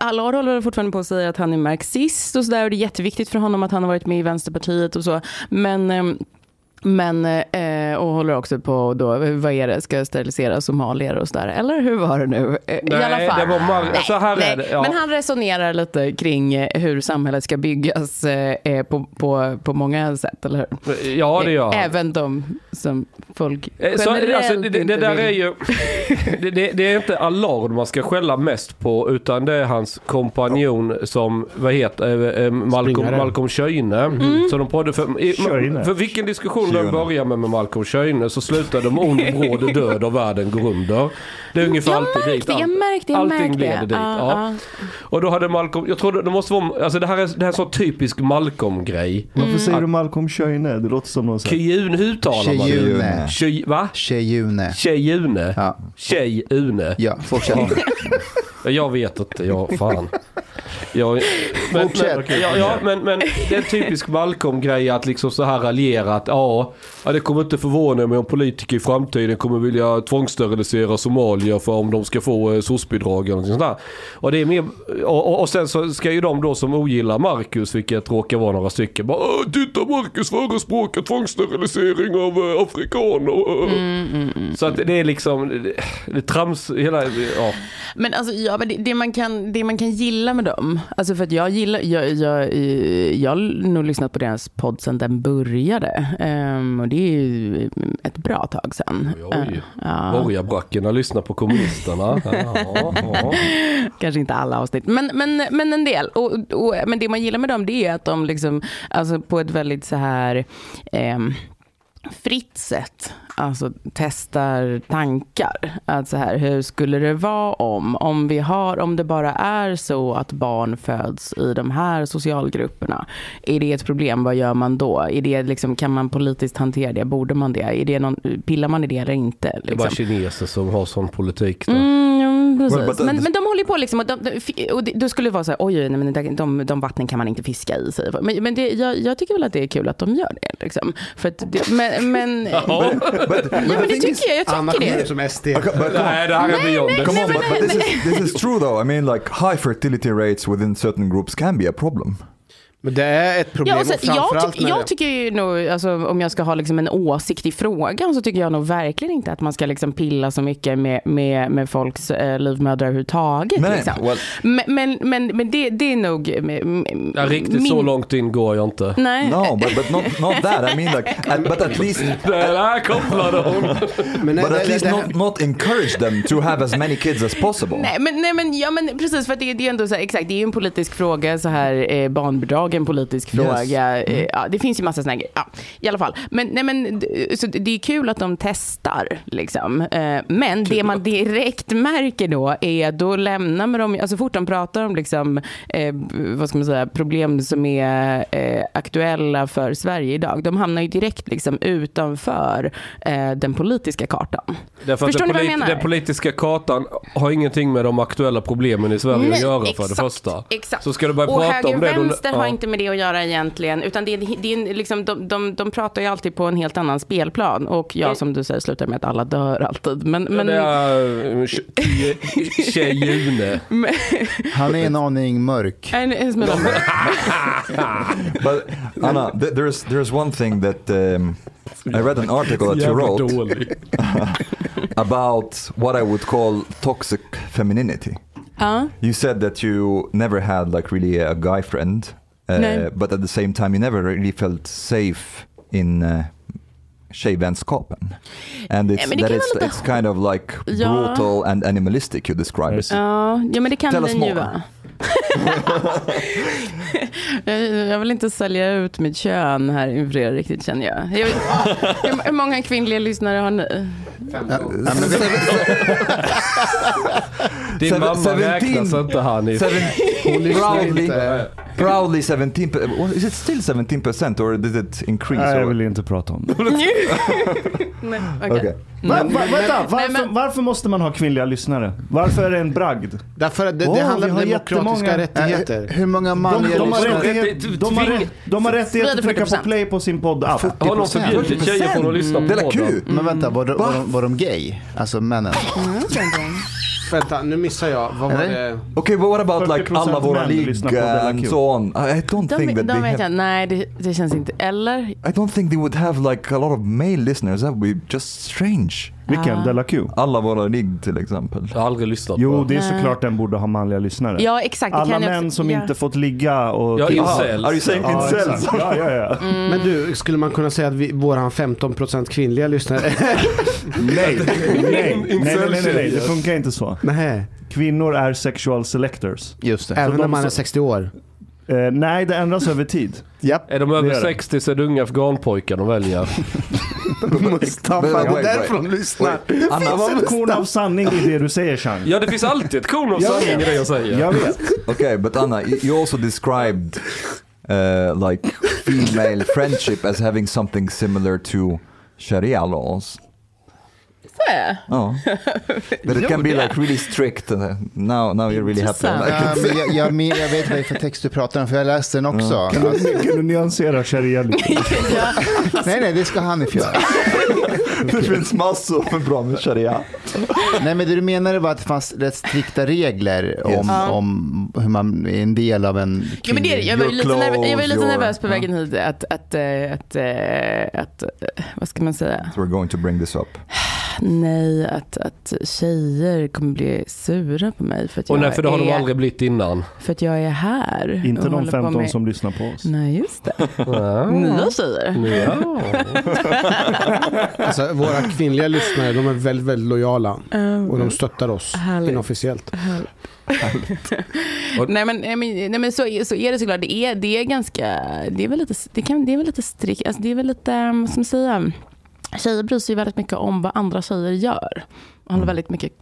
S2: Allard håller fortfarande på att säga att han är marxist och så där och det är jätteviktigt för honom att han har varit med i Vänsterpartiet och så. Men, eh, men eh, och håller också på då, vad är det, ska sterilisera somalier och sådär. Eller hur var det nu? Eh, I alla fall.
S7: det var mar-
S2: Nej,
S7: så här
S2: nej.
S7: är det. Ja.
S2: Men han resonerar lite kring eh, hur samhället ska byggas eh, eh, på, på, på många sätt, eller hur?
S7: ja, det gör han.
S2: Även de som folk
S7: Eh,
S2: generellt
S7: Så, alltså, det, det, det
S2: inte
S7: där
S2: vill.
S7: är ju... [laughs] Det, det, det är inte Allard man ska skälla mest på, utan det är hans kompanjon som, vad heter eh, eh, Malcolm,
S5: Springare.
S7: Malcolm Schöne.
S2: Mm.
S7: Som de poddade för, i,
S3: Schöne.
S7: för vilken diskussion de
S1: Schöne.
S7: börjar med med Malcolm Schöne så slutar
S2: [laughs]
S7: de ond bråd död och världen går under. Det är ungefär
S2: Jag
S7: alltid dit.
S2: märkte, jag märkte, jag
S7: Allting
S2: märkte.
S7: leder dit.
S2: Ja,
S7: ja.
S2: ja.
S7: Och då hade Malcolm, jag tror det, det måste vara, alltså det här är, det här är så typisk Malcolm-grej.
S3: Varför säger du Malcolm Schöne? Det låter som någon sån här-
S7: Kyun, hur uttalar man det?
S4: Tjejune.
S7: Ky, va?
S4: Tjejune.
S7: Tjejune?
S4: Ja.
S7: Tjejune?
S4: Ja, fortsätt.
S7: Jag vet inte, jag fan. Jag, men, men,
S4: Fortsätt.
S7: ja, ja, men, men det är en typisk Malcolm-grej att liksom så här raljera att ja, ja, det kommer inte förvåna mig om politiker i framtiden kommer vilja tvångssterilisera somalier för om de ska få eh, soc-bidrag eller något sånt där. Och, det är mer, och, och, och sen så ska ju de då som ogillar Marcus, vilket råkar vara några stycken, bara "Åh, titta Marcus förespråkar tvångssterilisering av eh, afrikaner. Så att det är liksom, det, det trams, hela, ja.
S2: Men alltså, ja, men det, det, man kan, det man kan gilla med dem, alltså för att jag gillar, jag, jag, eh, jag har nog lyssnat på deras podd sedan den började. Ehm, och det är ju ett bra tag sedan.
S7: Oj, oj.
S2: Eh, ja.
S7: Borgarbrackorna lyssnar
S2: [laughs]
S7: på kommunisterna. Ja, ja.
S2: Kanske inte alla avsnitt, men, men, men en del. Och, och, men det man gillar med dem det är att de liksom, alltså på ett väldigt så här ehm, fritt sätt alltså, testar tankar. Att så här, hur skulle det vara om, om, vi har, om det bara är så att barn föds i de här socialgrupperna? Är det ett problem? Vad gör man då? Är det liksom, kan man politiskt hantera det? Borde man det? Är det någon, pillar man i det eller inte?
S7: Det är bara
S2: Liksom?
S7: kineser som har sån politik. Då.
S2: Mm, jo,
S1: Well, but
S2: precis.
S1: that-
S2: Men, men de håller ju på liksom och, de, de, fi- och det, då skulle det vara så här, oj, oj, nej, men de, de, de vattnen kan man inte fiska i sig. Men, men det, jag, jag tycker väl att det är kul att de gör det. Liksom. För att det, men, men, ja,
S1: But,
S2: men det tycker jag. Jag
S5: Anna
S2: tycker
S5: kommer
S2: det.
S5: ut som SD.
S1: okay, but come on.
S7: Nej, det här är beyond.
S1: Come
S2: Nej,
S1: on, but, but this, is, this is true though. I mean, like high fertility rates within certain groups can be a problem.
S5: Men det är ett problem.
S2: Ja, och
S5: och
S2: sen, jag,
S5: framförallt
S2: tyck,
S5: när
S2: jag
S5: det-
S2: tycker ju nog, alltså, om jag ska ha liksom en åsikt i frågan så tycker jag nog verkligen inte att man ska liksom pilla så mycket med, med, med folks eh, livmödrar överhuvudtaget.
S1: Nej,
S2: liksom.
S1: well-
S2: Men, men, men, men det, det är nog eh, m- m-
S7: Ja, riktigt så långt in går jag inte.
S2: Nej.
S1: No, but, but not not that. I mean, like, at, but
S7: [laughs]
S1: at least,
S7: [laughs] Det där kopplade hon.
S5: Men nej,
S1: but
S5: nej,
S1: at
S5: nej,
S1: least
S5: det här-
S1: not not encourage them to have as many kids as possible.
S2: Nej men, nej men, ja men precis för att det, det är ändå så här, exakt, det är ju en politisk fråga så här, eh, barnbidrag är en politisk fråga. Eh,
S7: Mm.
S2: ja, det finns ju massa sådana grejer. Ja, I alla fall. Men, nej men, d- så det det är kul att de testar liksom. Eh, men det man direkt märker då är, då lämnar man dem, alltså fort de pratar om liksom, eh, b- vad ska man säga, problem som är eh, aktuella för Sverige idag. De hamnar ju direkt liksom utanför eh, den politiska kartan.
S7: Därför att
S2: Förstår
S7: den,
S2: ni vad jag
S7: polit-
S2: menar?
S7: den politiska kartan har ingenting med de aktuella problemen i Sverige att
S2: Nej,
S7: göra för det
S2: exakt,
S7: första.
S2: Exakt.
S7: Så ska du börja
S2: och
S7: prata
S2: höger
S7: om det. då-
S2: vänster har
S7: ja.
S2: inte med det att göra egentligen. Utan det är, det är en- liksom, de, de, de pratar ju alltid på en helt annan spelplan. Och ja, som du säger, slutar med att alla dör alltid. Men, men,
S7: Mm. Det är eh,
S2: [laughs]
S7: tje- tjejune.
S4: Han är en aning mörk.
S2: En- en smula-
S1: But Anna, th- there's there's one thing that um, I read an article that you
S7: Jävla
S1: wrote
S7: dålig.
S1: about what I would call toxic femininity.
S2: Ja.
S1: You said that you never had like really a guy friend, uh,
S2: Nej.
S1: but at the same time you never really felt safe in uh, tjejvänskapen. And it's,
S2: men det
S1: that
S2: kan
S1: it's,
S2: vara lite
S1: it's kind of like [laughs]
S2: Ja.
S1: brutal and animalistic you describe it.
S3: Yes.
S2: Ja, ja men det kan
S1: Tell us
S2: den ju
S1: more.
S2: vara. [laughs] jag, jag vill inte sälja ut mitt kön här inför er riktigt känner jag. jag vill, hur, hur många kvinnliga lyssnare har ni?
S1: Uh,
S7: Din
S1: Seven-
S7: mamma räknas
S1: seventeen.
S7: inte
S3: [laughs]
S7: Hanif.
S1: Seven, proudly, proudly 17 per- well, Is it still 17 percent or did it increase?
S3: Nej, jag
S1: or-
S3: vill inte prata om det.
S2: Nej,
S1: Okay.
S3: Va, va, vänta, varför,
S2: men-
S3: varför måste man ha kvinnliga lyssnare? Varför är det en bragd?
S5: Därför att det,
S3: Åh,
S5: det handlar
S3: vi
S5: om
S3: har
S5: demokratiska
S3: jättemånga-
S4: Eh, Hur,
S5: rättigheter.
S4: hur många liksom-
S3: De,
S4: manliga
S3: de, har,
S4: lyssnare?
S3: rättighet, de, har, rätt, de har rättighet att trycka på
S2: 40%.
S3: play på sin podd app.
S7: Har någon förbjudit tjejer från att lyssna på
S1: Det är
S7: podden?
S1: kul!
S3: Mm.
S4: Men vänta, var, de- var, de, var de gay? Alltså [laughs] männen?
S5: Vänta, nu missar jag. Vad var
S4: Eller?
S5: det?
S1: Okay, but what about like
S3: 40%
S1: alla våra
S3: män lyssnar på Della
S1: ligga
S3: Q.
S1: and so on? I I don't
S2: De,
S1: think that
S2: de
S1: they
S2: vet
S1: have,
S2: jag, nej det, det känns inte. Eller?
S1: I don't think they would have like a lot of male listeners. That would be just strange.
S2: Ah.
S3: Vilken? Della Q?
S1: Alla våra ligg till exempel.
S7: Jag har aldrig lyssnat
S3: Jo,
S7: på
S3: det är
S2: Nej.
S3: såklart den borde ha manliga lyssnare.
S2: Ja exakt. det
S3: Alla
S2: kan jag
S3: män
S2: också-
S3: som
S2: ja.
S3: inte fått ligga och...
S7: Ja,
S3: Ja,
S7: incels.
S1: Ah, Are you saying
S3: ja,
S1: incels?
S3: exakt.
S1: [laughs]
S3: ja, ja, ja.
S2: Mm.
S5: Men du, skulle man kunna säga att vi, våran 15% kvinnliga lyssnare... [laughs]
S3: Nej. Nej. Nej, nej, nej, nej, det funkar inte så.
S5: Nej,
S3: Kvinnor är sexual selectors.
S4: Just det.
S5: även
S3: de
S5: om man är
S3: som-
S5: 60 år.
S3: Eh, nej, det ändras över tid.
S4: [laughs] Japp.
S7: Är de
S3: Det
S7: över
S3: gör det.
S7: 60 så är det unga afghanpojkar de väljer.
S1: But-
S5: Mustafa,
S1: wait, wait.
S5: lyssnar.
S3: Det var väl korn av sanning i det du säger, Chang.
S7: Ja, det finns alltid ett korn av sanning i det jag säger.
S3: Jag vet.
S1: Okay, but Anna, y- you also described uh, like [laughs] female friendship as having something similar to Sharia laws. Oh, that it can be like really strict. And, uh, now, now you really have to.
S2: Intressant.
S1: Like,
S4: Ja,
S1: [laughs]
S4: men jag, jag, men jag vet vad det är för text du pratar om, för jag läste den också. Alltså,
S3: Kan du nyansera sharia lite?
S4: nej, nej, det ska Hanif göra.
S1: det [laughs] finns massor med bra med Sharia.
S4: Nej, men det du menade var att det fanns rätt strikta regler om,
S1: Yes.
S2: Ja.
S4: om hur man är en del av en
S2: Ja, men det, är det. jag, var ju
S1: Your
S2: lite nervös, jag var ju lite
S1: clothes, your-
S2: nervös på
S1: Ja.
S2: vägen hit att, att, eh, att, eh, att, eh, vad ska man säga?
S1: We're going to bring this up.
S2: Nej, att, att tjejer kommer bli sura på mig för att,
S7: Och
S2: jag,
S7: nej, för det har
S2: är,
S7: de aldrig blivit innan.
S2: för att jag är här. och
S3: Inte de
S2: håller på
S3: 15
S2: med-
S3: som lyssnar på oss.
S2: Nej, just det. Nya tjejer. [laughs]
S7: Ja.
S5: Alltså, våra kvinnliga lyssnare, de är väldigt, väldigt lojala.
S2: Um,
S5: Och de stöttar oss
S2: Härligt.
S5: inofficiellt.
S2: Nej men, nej, men, nej, men så, så är det såklart. Det är, det är ganska, det är väl lite, det kan, det är väl lite strikt, alltså, det är väl lite, um, vad ska man säga, tjejer bryr sig ju väldigt mycket om vad andra tjejer gör. Och håller väldigt mycket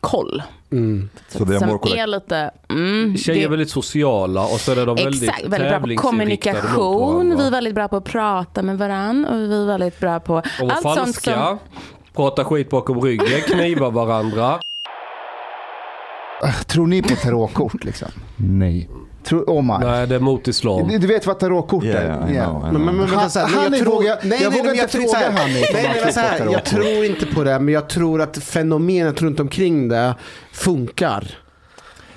S2: koll.
S5: Mm.
S1: So they are
S2: Som
S1: more correct.
S2: är lite, mm,
S7: Tjejer
S2: det-
S7: är väldigt sociala och så är de väldigt
S2: Exakt, väldigt bra på
S7: tävlingsinriktade mot
S2: kommunikation.
S7: varandra.
S2: Vi är väldigt bra på att prata med varandra. Och vi är väldigt bra på
S7: De var
S2: allt sånt
S7: falska,
S2: som...
S7: pratar skit bakom ryggen, knivar varandra.
S4: Ah, Tror ni på tarotkort liksom? Nej. Tror, oh my.
S7: Nej, det är mot islam.
S4: Du, du vet vad tarotkort är?
S1: Yeah, I
S4: Ja.
S1: know, I
S5: Men,
S1: know.
S5: men, men, vänta, så här,
S4: Han-
S5: nej, jag
S4: Hanif
S5: tror-
S4: vågar-
S5: nej,
S4: jag
S5: nej,
S4: vågar
S5: men
S4: inte
S5: tror
S4: fråga
S5: så här-
S4: Hanif om
S5: Nej,
S4: han
S5: men
S4: tror
S5: så här,
S4: på tarot.
S5: jag tror inte på det, men jag tror att fenomenet runt omkring det funkar.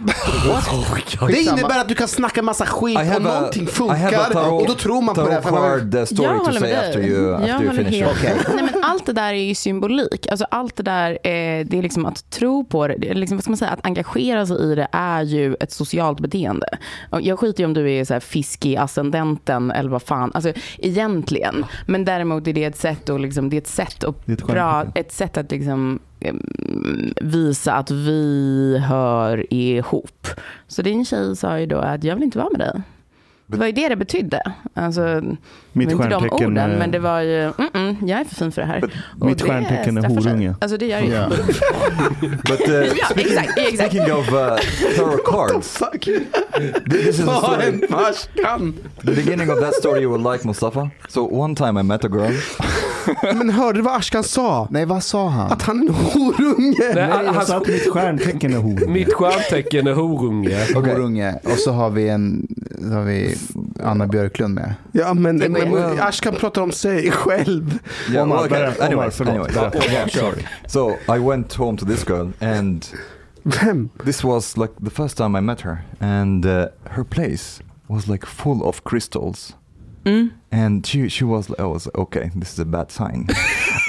S5: Det
S4: Skitsamma.
S5: innebär att du kan snacka massa skit
S1: I
S5: och
S1: have a,
S5: någonting
S1: I have a
S5: funkar
S1: tarot,
S5: och då tror man på det.
S1: tarot
S5: här, För man,
S1: card uh, story to say after you,
S2: jag
S1: after you
S2: håller
S1: finish your
S2: helt med. Nej, men allt det där är ju symbolik. Alltså, allt det där, eh, det är liksom att tro på det. det är liksom, vad ska man säga? Att engagera sig i det är ju ett socialt beteende. Och jag skiter ju om du är så här fisk i ascendenten eller vad fan. Alltså, egentligen. Men däremot är det ett sätt att, liksom, det är ett sätt att,
S3: Det är ett skämt.
S2: bra, ett sätt att liksom, eh, visa att vi hör ihop. Så din tjej sa ju då att jag vill inte vara med dig. Det var ju det det betydde. Alltså,
S3: Mitt
S2: det var inte de
S3: stjärntecken,
S2: orden,
S3: eh,
S2: men det var ju, mm -mm, jag är för fin för det här. Och
S3: mitt
S2: det
S3: stjärntecken är
S2: straffar sig.
S3: horunge.
S2: Alltså det gör ju.
S4: Ja.
S1: [laughs] But
S2: [laughs]
S1: uh,
S2: Ja, exakt, exakt.
S1: speaking of uh,
S5: [laughs]
S1: tarot cards, this is a
S5: har
S1: story.
S5: en marskan.
S1: The beginning of that story you will like, Mustafa. So one time I met a girl.
S5: Men hörde du vad Ashkan sa?
S4: Nej, vad sa han?
S5: Att han är en horunge.
S7: Nej,
S3: Nej, jag
S7: hans,
S3: sa att mitt stjärntecken är horunge.
S7: mitt stjärntecken är horunge.
S1: Okej.
S4: Horunge. Och så har vi, en, så har vi Anna Björklund med.
S5: Ja, men, men,
S1: men-
S5: Ashkan pratar om sig själv.
S1: Yeah,
S3: Omar,
S1: well, okay.
S3: berätta, Omar,
S1: Anyways,
S3: förlåt,
S1: anyways.
S3: berätta.
S1: Yeah, sure.
S5: [laughs]
S1: So I went home to this girl, and
S5: Vem?
S1: this was like the first time I met her, and uh, her place was like full of crystals. And she she was I was okay. This is a bad sign.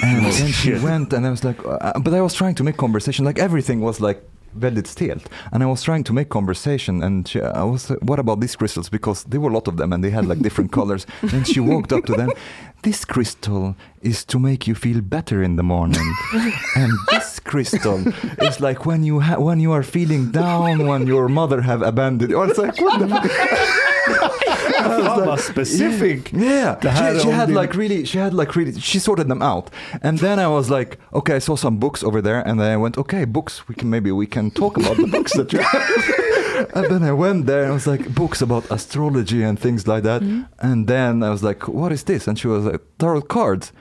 S1: and then she
S3: shit.
S1: uh, went, and I was like, uh, but I was trying to make conversation. Like everything was like väldigt stelt. And I was trying to make conversation and she, I was uh, what about these crystals because there were a lot of them and they had like different colors and she walked up to them this crystal is to make you feel better in the morning and this crystal is like when you ha- when you are feeling down when your mother have abandoned you. I was like what the
S3: Fan vad Mm. specific.
S1: Yeah,
S3: Det här
S1: she, she
S3: är om
S1: had
S3: din-
S1: like really, she had like really, she sorted them out, and then I was like, okay, I saw some books over there, and then I went, okay, books, we can maybe we can talk about the books that you. have. and then I went there and I was like, books about astrology and things like that, and then I was like, what is this? And she was like, tarot cards.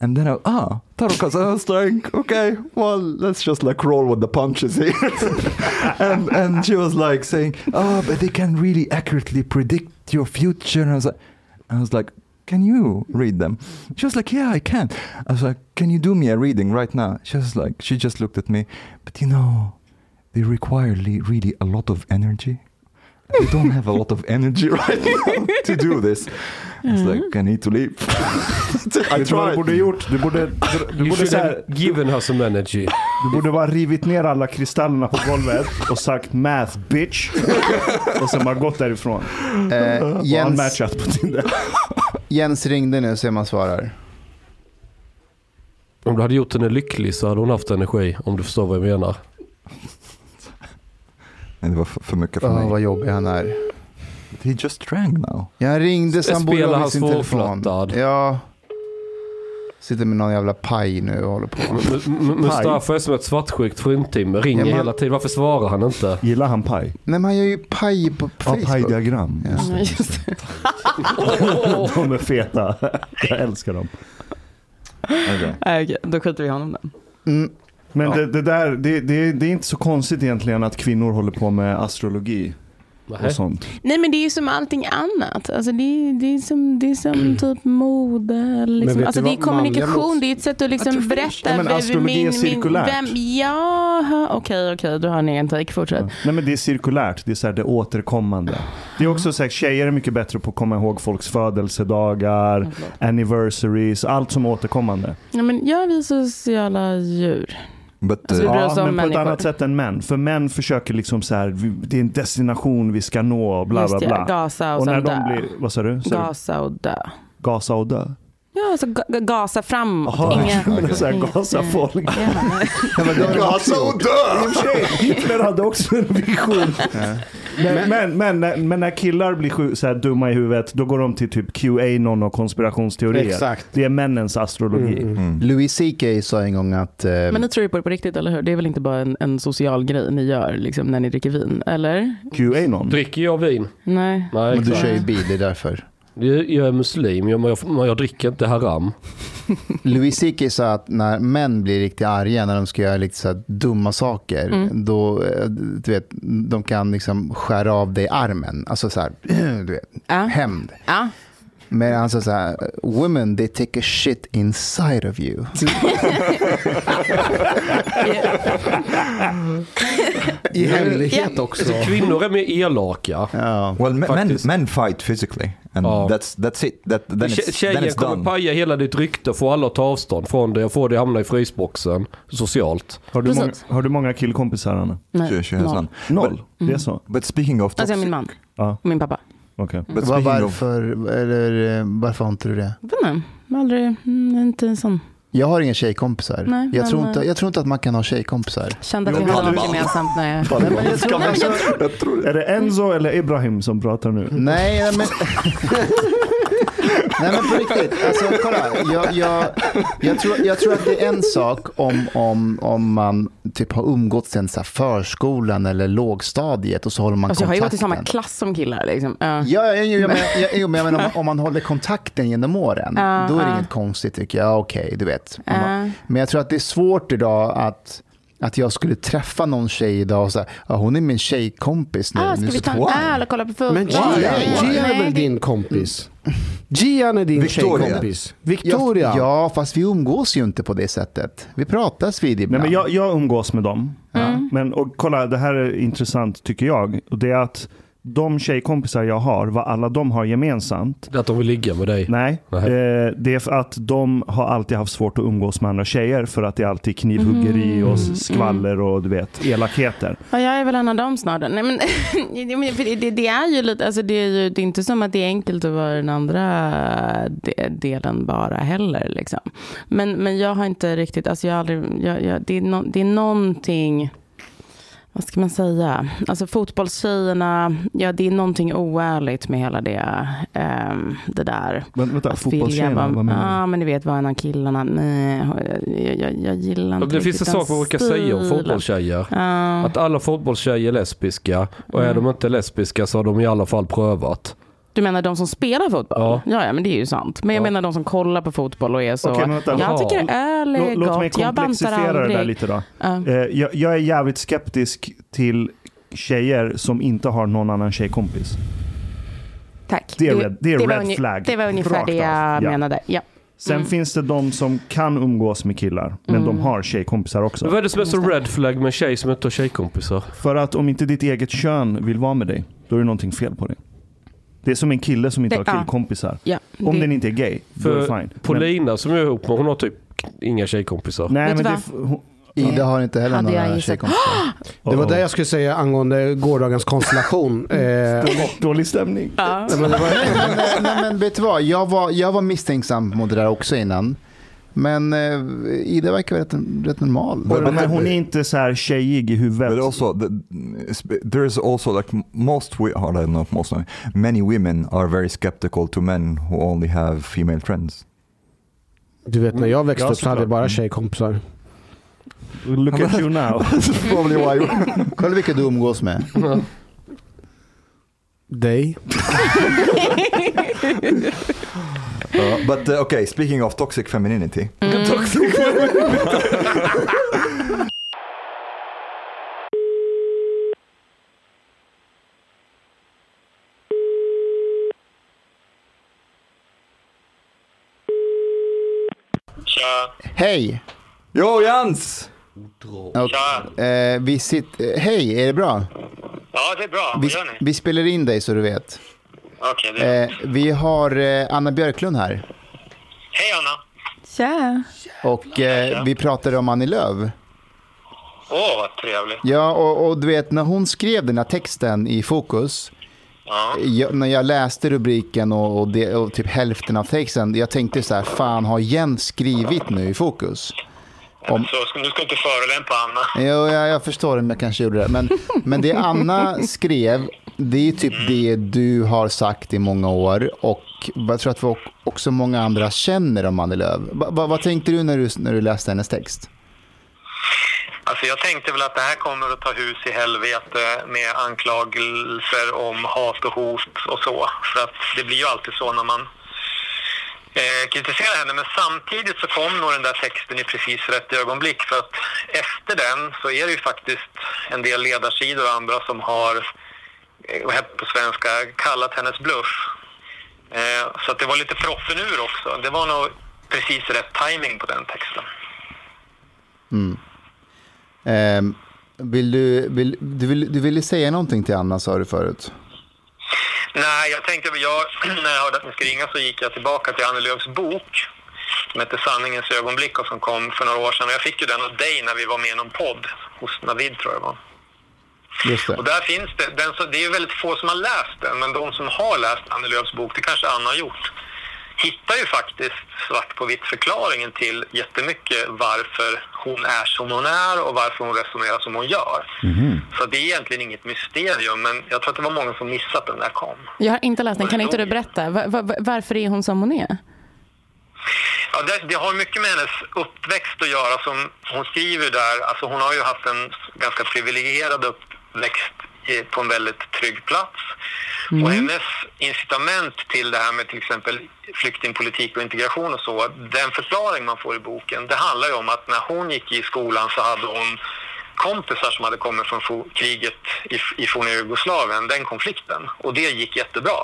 S1: And then I, ah, tarot cards. And I was like, okay, well, let's just like roll with the punches here. and, and she was like saying, oh, but they can really accurately predict your future. And I was like, I was like, can you read them? She was like, yeah, I can. I was like, can you do me a reading right now? She was like, she just looked at me, but you know, they require le- really a lot of energy. I don't have a lot of energy [laughs] right now to do this. I was like, I need to leave. [laughs] I
S3: Vet du vad du
S1: tried.
S3: borde gjort? Du borde, du,
S7: You
S3: borde så
S7: should
S3: här,
S7: have given her some energy.
S3: du borde bara rivit ner alla kristallerna på golvet och sagt math bitch. Och sen bara gått därifrån.
S5: Mm.
S4: Eh,
S3: Och
S4: Jens,
S3: unmatchat på Tinder.
S4: Jens ringde nu, se om han svarar.
S7: Om du hade gjort henne lycklig så hade hon haft energi, om du förstår vad jag menar.
S1: Nej, det var för, för mycket för
S4: Oh,
S1: mig.
S4: vad jobbig han är.
S1: He just drank now.
S4: Jag ringde
S7: Spelar
S4: sambo
S7: han
S4: med sin telefon.
S7: svårflörtad?
S4: Ja. Sitter med någon jävla paj nu och håller på.
S7: M- M- Mustafa är som ett svartsjukt fruntimmer. Ringer
S4: Ja, men-
S7: hela tiden. Varför svarar han inte?
S3: Gillar han paj?
S4: Nej men han gör ju paj på
S3: Ja,
S4: Facebook.
S3: pajdiagram.
S4: Ja.
S2: Just det.
S3: De är feta. Jag älskar dem.
S1: Okay.
S2: Nej, Okej, då skiter vi i honom då.
S4: Mm.
S3: Men
S1: Ja.
S3: det, det där, det, det, det är inte så konstigt egentligen att kvinnor håller på med astrologi och
S7: Nej.
S3: sånt.
S2: Nej men det är ju som allting annat. Alltså, det, är, det, är som, det är
S3: Mm.
S2: som typ mode.
S5: vet
S2: Liksom.
S5: du
S2: Alltså, det är
S5: vad manliga
S2: kommunikation,
S5: låts-
S2: det är ett sätt att liksom berätta.
S3: Ja, men
S2: vem-
S3: astrologi är cirkulärt.
S2: vem, ja, okej, okej, då har ni en take. Fortsätt.
S3: Nej men det är cirkulärt, det är så här, det återkommande. Det är också så här, tjejer är mycket bättre på att komma ihåg folks födelsedagar, anniversaries, allt som är återkommande.
S2: Ja, men, ja, vi är sociala djur.
S1: But
S2: Alltså,
S1: uh,
S2: det blir- bryr oss om
S3: men på ett
S2: människor.
S3: annat sätt än män. För män försöker liksom så här, vi- det är en destination vi ska nå, och bla
S2: Just
S3: bla
S2: det,
S3: bla.
S2: Gasa och,
S3: Och när
S2: sen dö.
S3: de blir, vad sa du? Sa du?
S2: Gasa och dö.
S3: Gasa och dö?
S2: Ja, alltså ga- ga- gasa framåt.
S3: Jaha, [laughs]
S2: Inga...
S3: jag menar så här,
S2: inga-
S3: gasa
S2: nej.
S3: folk.
S2: Ja.
S4: Gasa och
S3: I och för sig, Hitler hade också en
S2: [laughs]
S3: vision. Men, men, men, när- men när killar blir sju, så här dumma i huvudet, då går de till typ QAnon och konspirationsteorier.
S5: Exakt.
S3: Det är männens astrologi.
S1: Mm,
S4: Louis CK sa en gång att... Eh,
S2: Men ni tror ju på det på riktigt, eller hur? Det är väl inte bara en, en social grej ni gör liksom, när ni dricker vin, eller?
S3: QAnon.
S7: Dricker jag vin?
S2: Nej.
S7: Nej,
S4: men du
S7: exakt.
S4: kör ju bil, det är därför.
S7: Jag, jag är muslim, jag, men jag, men jag dricker inte haram.
S4: Louis CK sa att när män blir riktigt arga när de ska göra lite så här dumma saker,
S2: Mm.
S4: då eh, du vet, de kan liksom skära av dig armen. Alltså så här, [clears throat] du vet,
S2: Ja.
S4: hämnd.
S2: Ja.
S4: Men han sa så här, women they take a shit inside
S2: [laughs]
S4: of you.
S5: I hemlighet också.
S7: Kvinnor är mer elaka.
S4: Ja.
S1: well, me- men,
S7: Faktiskt.
S1: men fight physically, and
S7: Ja.
S1: that's that's it. That then
S7: Tje-
S1: it's, then
S7: Tjejer
S1: it's
S7: kommer
S1: done.
S7: paja hela ditt rykte och få alla att ta avstånd från dig och få dig att hamna i frysboxen socialt.
S3: Har, du många,
S2: Precis. Mm.
S3: har du många killkompisar Anna?
S2: Nej.
S1: She, she has
S2: noll.
S1: none.
S3: Noll? Det är så?
S1: But speaking of
S2: Alltså jag
S1: toxic,
S2: är min man
S3: Ja,
S2: och min pappa.
S3: okej.
S1: but
S4: Var,
S1: speaking of
S4: varför, eller, eh, varför har inte du det?
S2: Jag vet inte, jag har aldrig, mm, inte en sån.
S4: Jag har inga tjejkompisar.
S2: Nej,
S4: jag,
S2: men,
S4: tror inte,
S2: eh,
S4: jag tror inte att man kan ha tjejkompisar.
S2: Kände att
S1: Jo,
S2: vi hade
S1: Taliban.
S2: något gemensamt när jag...
S1: Taliban.
S2: Nej, men jag tror- nej, men jag tror-
S3: Är det Enzo eller Ibrahim som pratar
S2: Mm.
S3: nu?
S4: Nej, nej men... Nej men på riktigt, alltså, kolla. Jag, jag, jag, tror, jag tror att det är en sak om, om, om man typ har umgåtts sen så här förskolan eller lågstadiet och så håller man
S2: Alltså jag har ju
S4: kontakten.
S2: gått i samma klass som killar liksom. Ja.
S4: Ja, ja, jo, jo, men, ja, jo, men jag menar, om, om man håller kontakten genom åren,
S2: Ja,
S4: då är det
S2: ja.
S4: inget konstigt tycker jag. Ja, Okej, du vet. Om man-
S2: Ja.
S4: Men jag tror att det är svårt idag att, att jag skulle träffa någon tjej idag och säga ja, hon är min tjejkompis nu.
S2: Ah,
S4: nu
S2: ska vi
S4: så-
S2: ta en
S1: wow.
S2: öl och kolla på fotboll?
S5: Men Gian,
S4: Nej,
S5: Gian är
S2: Nej,
S5: din kompis. Gian är din
S1: Victoria.
S5: tjejkompis.
S4: Ja,
S5: Victoria.
S4: Ja, fast vi umgås ju inte på det sättet. Vi pratas vid
S3: Nej,
S4: ibland.
S3: men Mm. jag, jag umgås med dem. Men och kolla, det här är intressant tycker jag. Och det är att de tjejkompisar jag har, vad alla de har gemensamt.
S7: Att de vill ligga med dig.
S3: Nej,
S7: Nej.
S3: Eh, det är för att de har alltid haft svårt att umgås med andra tjejer för att det är alltid knivhuggeri
S2: Mm.
S3: och skvaller och du vet, elakheter.
S2: Ja, jag är väl en av dem snart. Nej, men, [laughs] ja, men för det, det är ju lite, alltså det är ju det är inte som att det är enkelt att vara den andra de- delen bara heller. Liksom. Men, men jag har inte riktigt, alltså jag har aldrig, jag, jag, det, är nå- det är någonting, vad ska man säga, alltså fotbollstjejerna, ja det är någonting oärligt med hela det, ehm, det där.
S3: Men, vänta,
S2: Att vilja
S3: fotbollstjejerna, vad menar
S2: Ja,
S3: du?
S2: men du vet vad en av killarna, nej, jag, jag, jag gillar inte
S7: Det finns en
S2: riktigt den
S7: sak man brukar säga om
S2: stilen.
S7: fotbollstjejer.
S2: Ja.
S7: Att alla fotbollstjejer är lesbiska och
S4: Mm.
S7: är de inte lesbiska så har de i alla fall prövat.
S2: Du menar de som spelar fotboll?
S7: Ja.
S2: Ja, ja, men det är ju sant. Men jag
S7: Ja.
S2: menar de som kollar på fotboll och är så.
S3: Okej, men vänta.
S2: jag
S7: Ja.
S2: tycker öl
S3: Lå-
S2: är
S3: Låt mig
S2: gott, jag bantar
S3: komplexifiera det
S2: aldrig.
S3: där lite då.
S2: Ja.
S3: Eh, jag, jag är jävligt skeptisk till tjejer som inte har någon annan tjejkompis.
S2: Tack.
S3: Det är red- det är
S2: var
S3: red
S2: unge-
S3: flag.
S2: Det var ungefär
S3: Rakt
S2: det
S3: av. Ja.
S2: jag menade. Ja.
S3: Sen
S2: Mm.
S3: finns det de som kan umgås med killar, men de har tjejkompisar också.
S7: Men vad är det som är så red flag med en tjej som inte har tjejkompisar?
S3: För att om inte ditt eget kön vill vara med dig, då är det någonting fel på dig. Det är som en kille som inte
S2: Det-
S3: har
S2: ja.
S3: killkompisar.
S2: Ja,
S3: Om
S2: det-
S3: den inte är gay, då är det
S7: För
S3: fine. Men,
S7: Paulina som jag är ihop med, hon har typ inga tjejkompisar.
S3: nej,
S2: Vet
S3: men
S2: du
S3: det,
S2: vad?
S3: är f- hon,
S4: Ida har inte heller
S2: Hade jag
S4: några
S2: gissat.
S4: tjejkompisar.
S5: Det var
S3: Oh.
S5: det jag skulle säga angående gårdagens konstellation. Eh,
S3: dålig, dålig stämning.
S4: nej, nej, men vet du vad? Jag var, jag var misstänksam mot det där också innan. Men eh, Ida verkar rätt, rätt normal.
S1: But-
S3: Men hon är inte så här tjejig i
S1: But
S3: huvudet.
S1: also, the, there is also like most, we, or I don't know if most, many women are very skeptical to men who only have female friends.
S5: du vet när jag växte
S3: Ja,
S5: upp så hade jag
S3: såklart.
S5: bara tjejkompisar.
S3: Look at you now.
S1: That's probably why.
S4: Kolla vilka du umgås med.
S5: Dig.
S1: Uh, but uh, okay, speaking of toxic femininity,
S4: Hej!
S1: Yo Jans!
S4: Och, eh, vi sitter... eh, Hej, är det bra?
S8: Ja, det är bra.
S4: Vi,
S8: Vad gör ni?
S4: vi spelar in dig så du vet.
S8: Okej, det är...
S4: Eh, vi har eh, Anna Björklund här.
S8: Hej, Anna.
S2: [laughs] Tja.
S4: Och eh, vi pratade om Annie Lööf.
S8: Åh, vad trevligt.
S4: Ja, och, och du vet när hon skrev den här texten i Fokus. eh,
S8: Ja.
S4: Jag, när jag läste rubriken och, och, det, och typ hälften av texten. Jag tänkte så här, fan har Jens skrivit nu i Fokus? Om-
S8: Så ska- du ska inte förolämpa Anna.
S4: Jo, jag, jag förstår om jag kanske gjorde det. Men, men det Anna skrev, det är typ det du har sagt i många år. Och jag tror att vi ock- också många andra känner om Annie Lööf. Va, va, vad tänkte du när, du när du läste hennes text?
S8: Alltså, jag tänkte väl att det här kommer att ta hus i helvete med anklagelser om hat och hot och så. För att det blir ju alltid så när man eh, kritiserar henne. Men samtidigt så kom nog den där texten i precis rätt ögonblick. För att efter den så är det ju faktiskt en del ledarsidor och andra som har, eh, vad heter det på svenska, kallat hennes bluff. Eh, så att det var lite proppen ur också. Det var nog precis rätt timing på den texten.
S4: Ehm, vill du, vill, du, vill, du ville säga någonting till Anna sa du förut.
S8: Nej, jag tänkte, jag, [clears throat] när jag hörde att ni skulle ringa så gick jag tillbaka till Annie Lööfs bok som heter Sanningens ögonblick och som kom för några år sedan. Och Jag fick ju den av dig när vi var med i någon podd hos Navid tror jag det var.
S4: Just det.
S8: Och där finns det, den som, det är ju väldigt få som har läst den, men de som har läst Annie Lööfs bok, det kanske Anna har gjort, hittar ju faktiskt svart på vitt förklaringen till jättemycket varför hon är som hon är och varför hon resonerar som hon gör. Så det är egentligen inget mysterium, men jag tror att det var många som missat den när den kom.
S2: Jag har inte läst den. Kan inte du berätta? Va- va- va- varför är hon som hon är?
S8: Ja, det, det har mycket med hennes uppväxt att göra. Som hon skriver där, alltså hon har ju haft en ganska privilegierad uppväxt i- på en väldigt trygg plats. Och hennes incitament till det här med till exempel flyktingpolitik och integration och så, den förklaring man får i boken, det handlar ju om att när hon gick i skolan så hade hon kompisar som hade kommit från fo- kriget i, i forna Jugoslavien, den konflikten. Och det gick jättebra.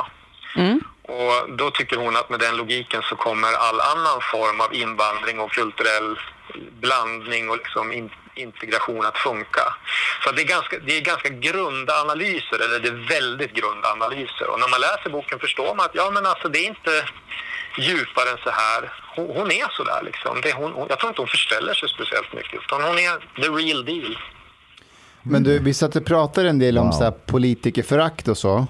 S8: Och då tycker hon att med den logiken så kommer all annan form av invandring och kulturell blandning och liksom in, integration att funka. Så att det, är ganska, det är ganska grunda analyser, eller det är väldigt grunda analyser. Och när man läser boken förstår man att ja, men alltså, det är inte djupare än så här. Hon, hon är så där liksom. Det, hon, hon, jag tror inte hon förställer sig speciellt mycket, utan hon är the real deal.
S4: Men du, vi satt och pratade en del om så här politikerförakt och så.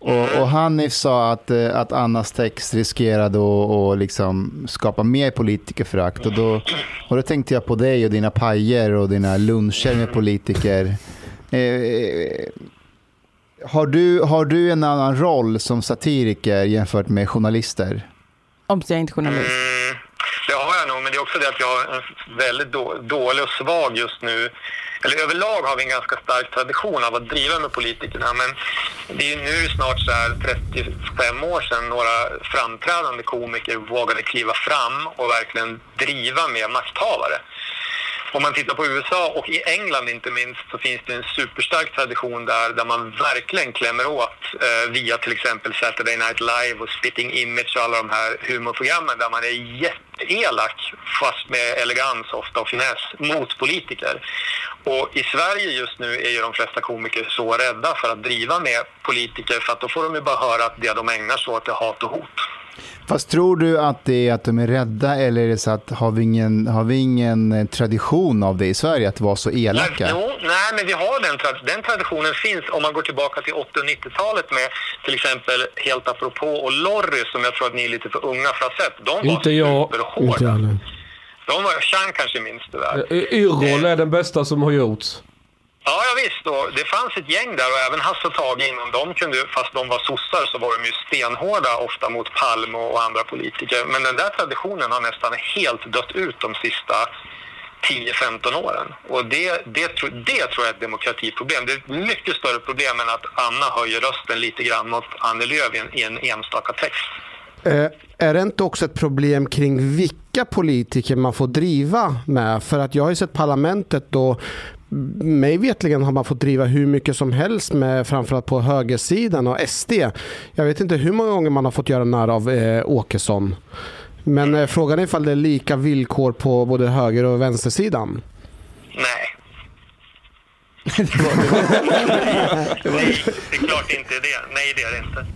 S4: Och, och Hanif sa att, eh, att Annas text riskerade att att liksom skapa mer politikerförakt. Och då, och då tänkte jag på dig och dina pajer och dina luncher med politiker. Eh, eh, har, du, har du en annan roll som satiriker jämfört med journalister?
S2: Om jag är inte journalist.
S8: Mm, det har jag nog, men det är också det att jag är väldigt då, dålig och svag just nu. Eller överlag har vi en ganska stark tradition av att driva med politikerna, men det är ju nu snart så här 35 år sedan några framträdande komiker vågade kliva fram och verkligen driva med makthavare. Om man tittar på USA och i England inte minst så finns det en superstark tradition där, där man verkligen klämmer åt eh, via till exempel Saturday Night Live och Spitting Image och alla de här humorprogrammen där man är jätteelak fast med elegans ofta och finess mot politiker. Och i Sverige just nu är ju de flesta komiker så rädda för att driva med politiker för att då får de ju bara höra att det de ägnar sig åt är hat och hot.
S4: Fast tror du att det är att de är rädda eller är det så att har vi ingen, har vi ingen eh, tradition av det i Sverige att vara så elaka?
S8: Nej, jo, nej, men vi har den, tra- den traditionen finns om man går tillbaka till 80 och 90-talet med till exempel Helt apropå och Lorry som jag tror att ni är lite för unga för att ha sett. De var
S7: Inte jag. Eh,
S8: superhårda. De var, Chang kanske minns det där.
S7: Yrrol är den bästa som har gjorts.
S8: Ja, ja visst. Och det fanns ett gäng där och även Hasse och Tage innan de kunde, fast de var sossar så var de ju stenhårda ofta mot Palme och andra politiker. Men den där traditionen har nästan helt dött ut de sista 10-15 åren. Och det, det, tro- det tror jag är ett demokratiproblem. Det är ett mycket större problem än att Anna höjer rösten lite grann mot Annie Lööf i en, i en enstaka text.
S6: Eh, är det inte också ett problem kring vilka politiker man får driva med? För att jag har ju sett parlamentet då mig vetligen har man fått driva hur mycket som helst med framförallt på högersidan och SD. Jag vet inte hur många gånger man har fått göra narr av eh, Åkesson. Men eh, frågan är ifall det är lika villkor på både höger och vänstersidan.
S8: Nej. Nej, det är klart inte det. Nej, det är det inte.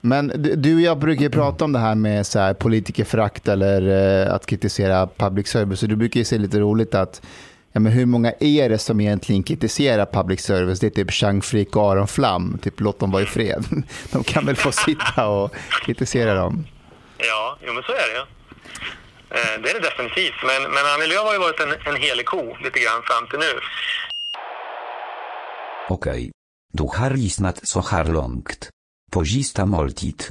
S4: Men du- du och jag brukar ju prata om det här med så här politikerförakt eller eh, att kritisera public service. Så du brukar ju se lite roligt att ja, men hur många är det som egentligen kritiserar public service? Det är typ Chang Frick och Aron Flam. Typ låt dem vara i fred. [laughs] De kan väl få sitta och kritisera dem.
S8: Ja, jo, men så är det ju. Eh, Det är det definitivt. Men, men Annie Lööf har ju varit en, en helig ko lite grann fram till nu.
S9: Okej. Du har lyssnat så här långt. Pozista måltid.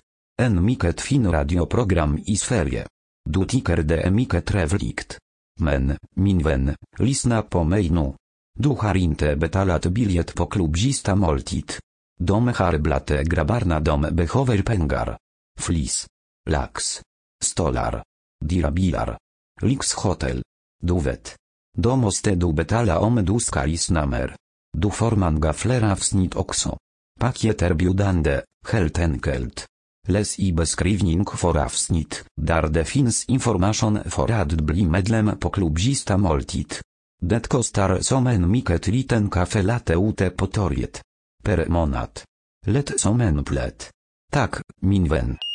S9: En mycket fin radioprogram i Sverige. Du tycker det är mycket trevligt. Men, min vän, lyssna på mig nu. Du har inte betalat bilet på klubbzista måltid. De har blate grabarna dom behöver pengar. Flis. Lax. Stolar. Dirabilar. Lix hotel. Du vet. De måste du betala om du ska lyssna mer. Du forman gaflera wsnit okso. Pakieter biudande, heltenkelt. Les i beskrivning for avsnit, dar defins information for adbli medlem po klubzista moltit. Detko star somen miket liten kafe late ute potoriet. Per monat. Let somen plet. Tak, minwen.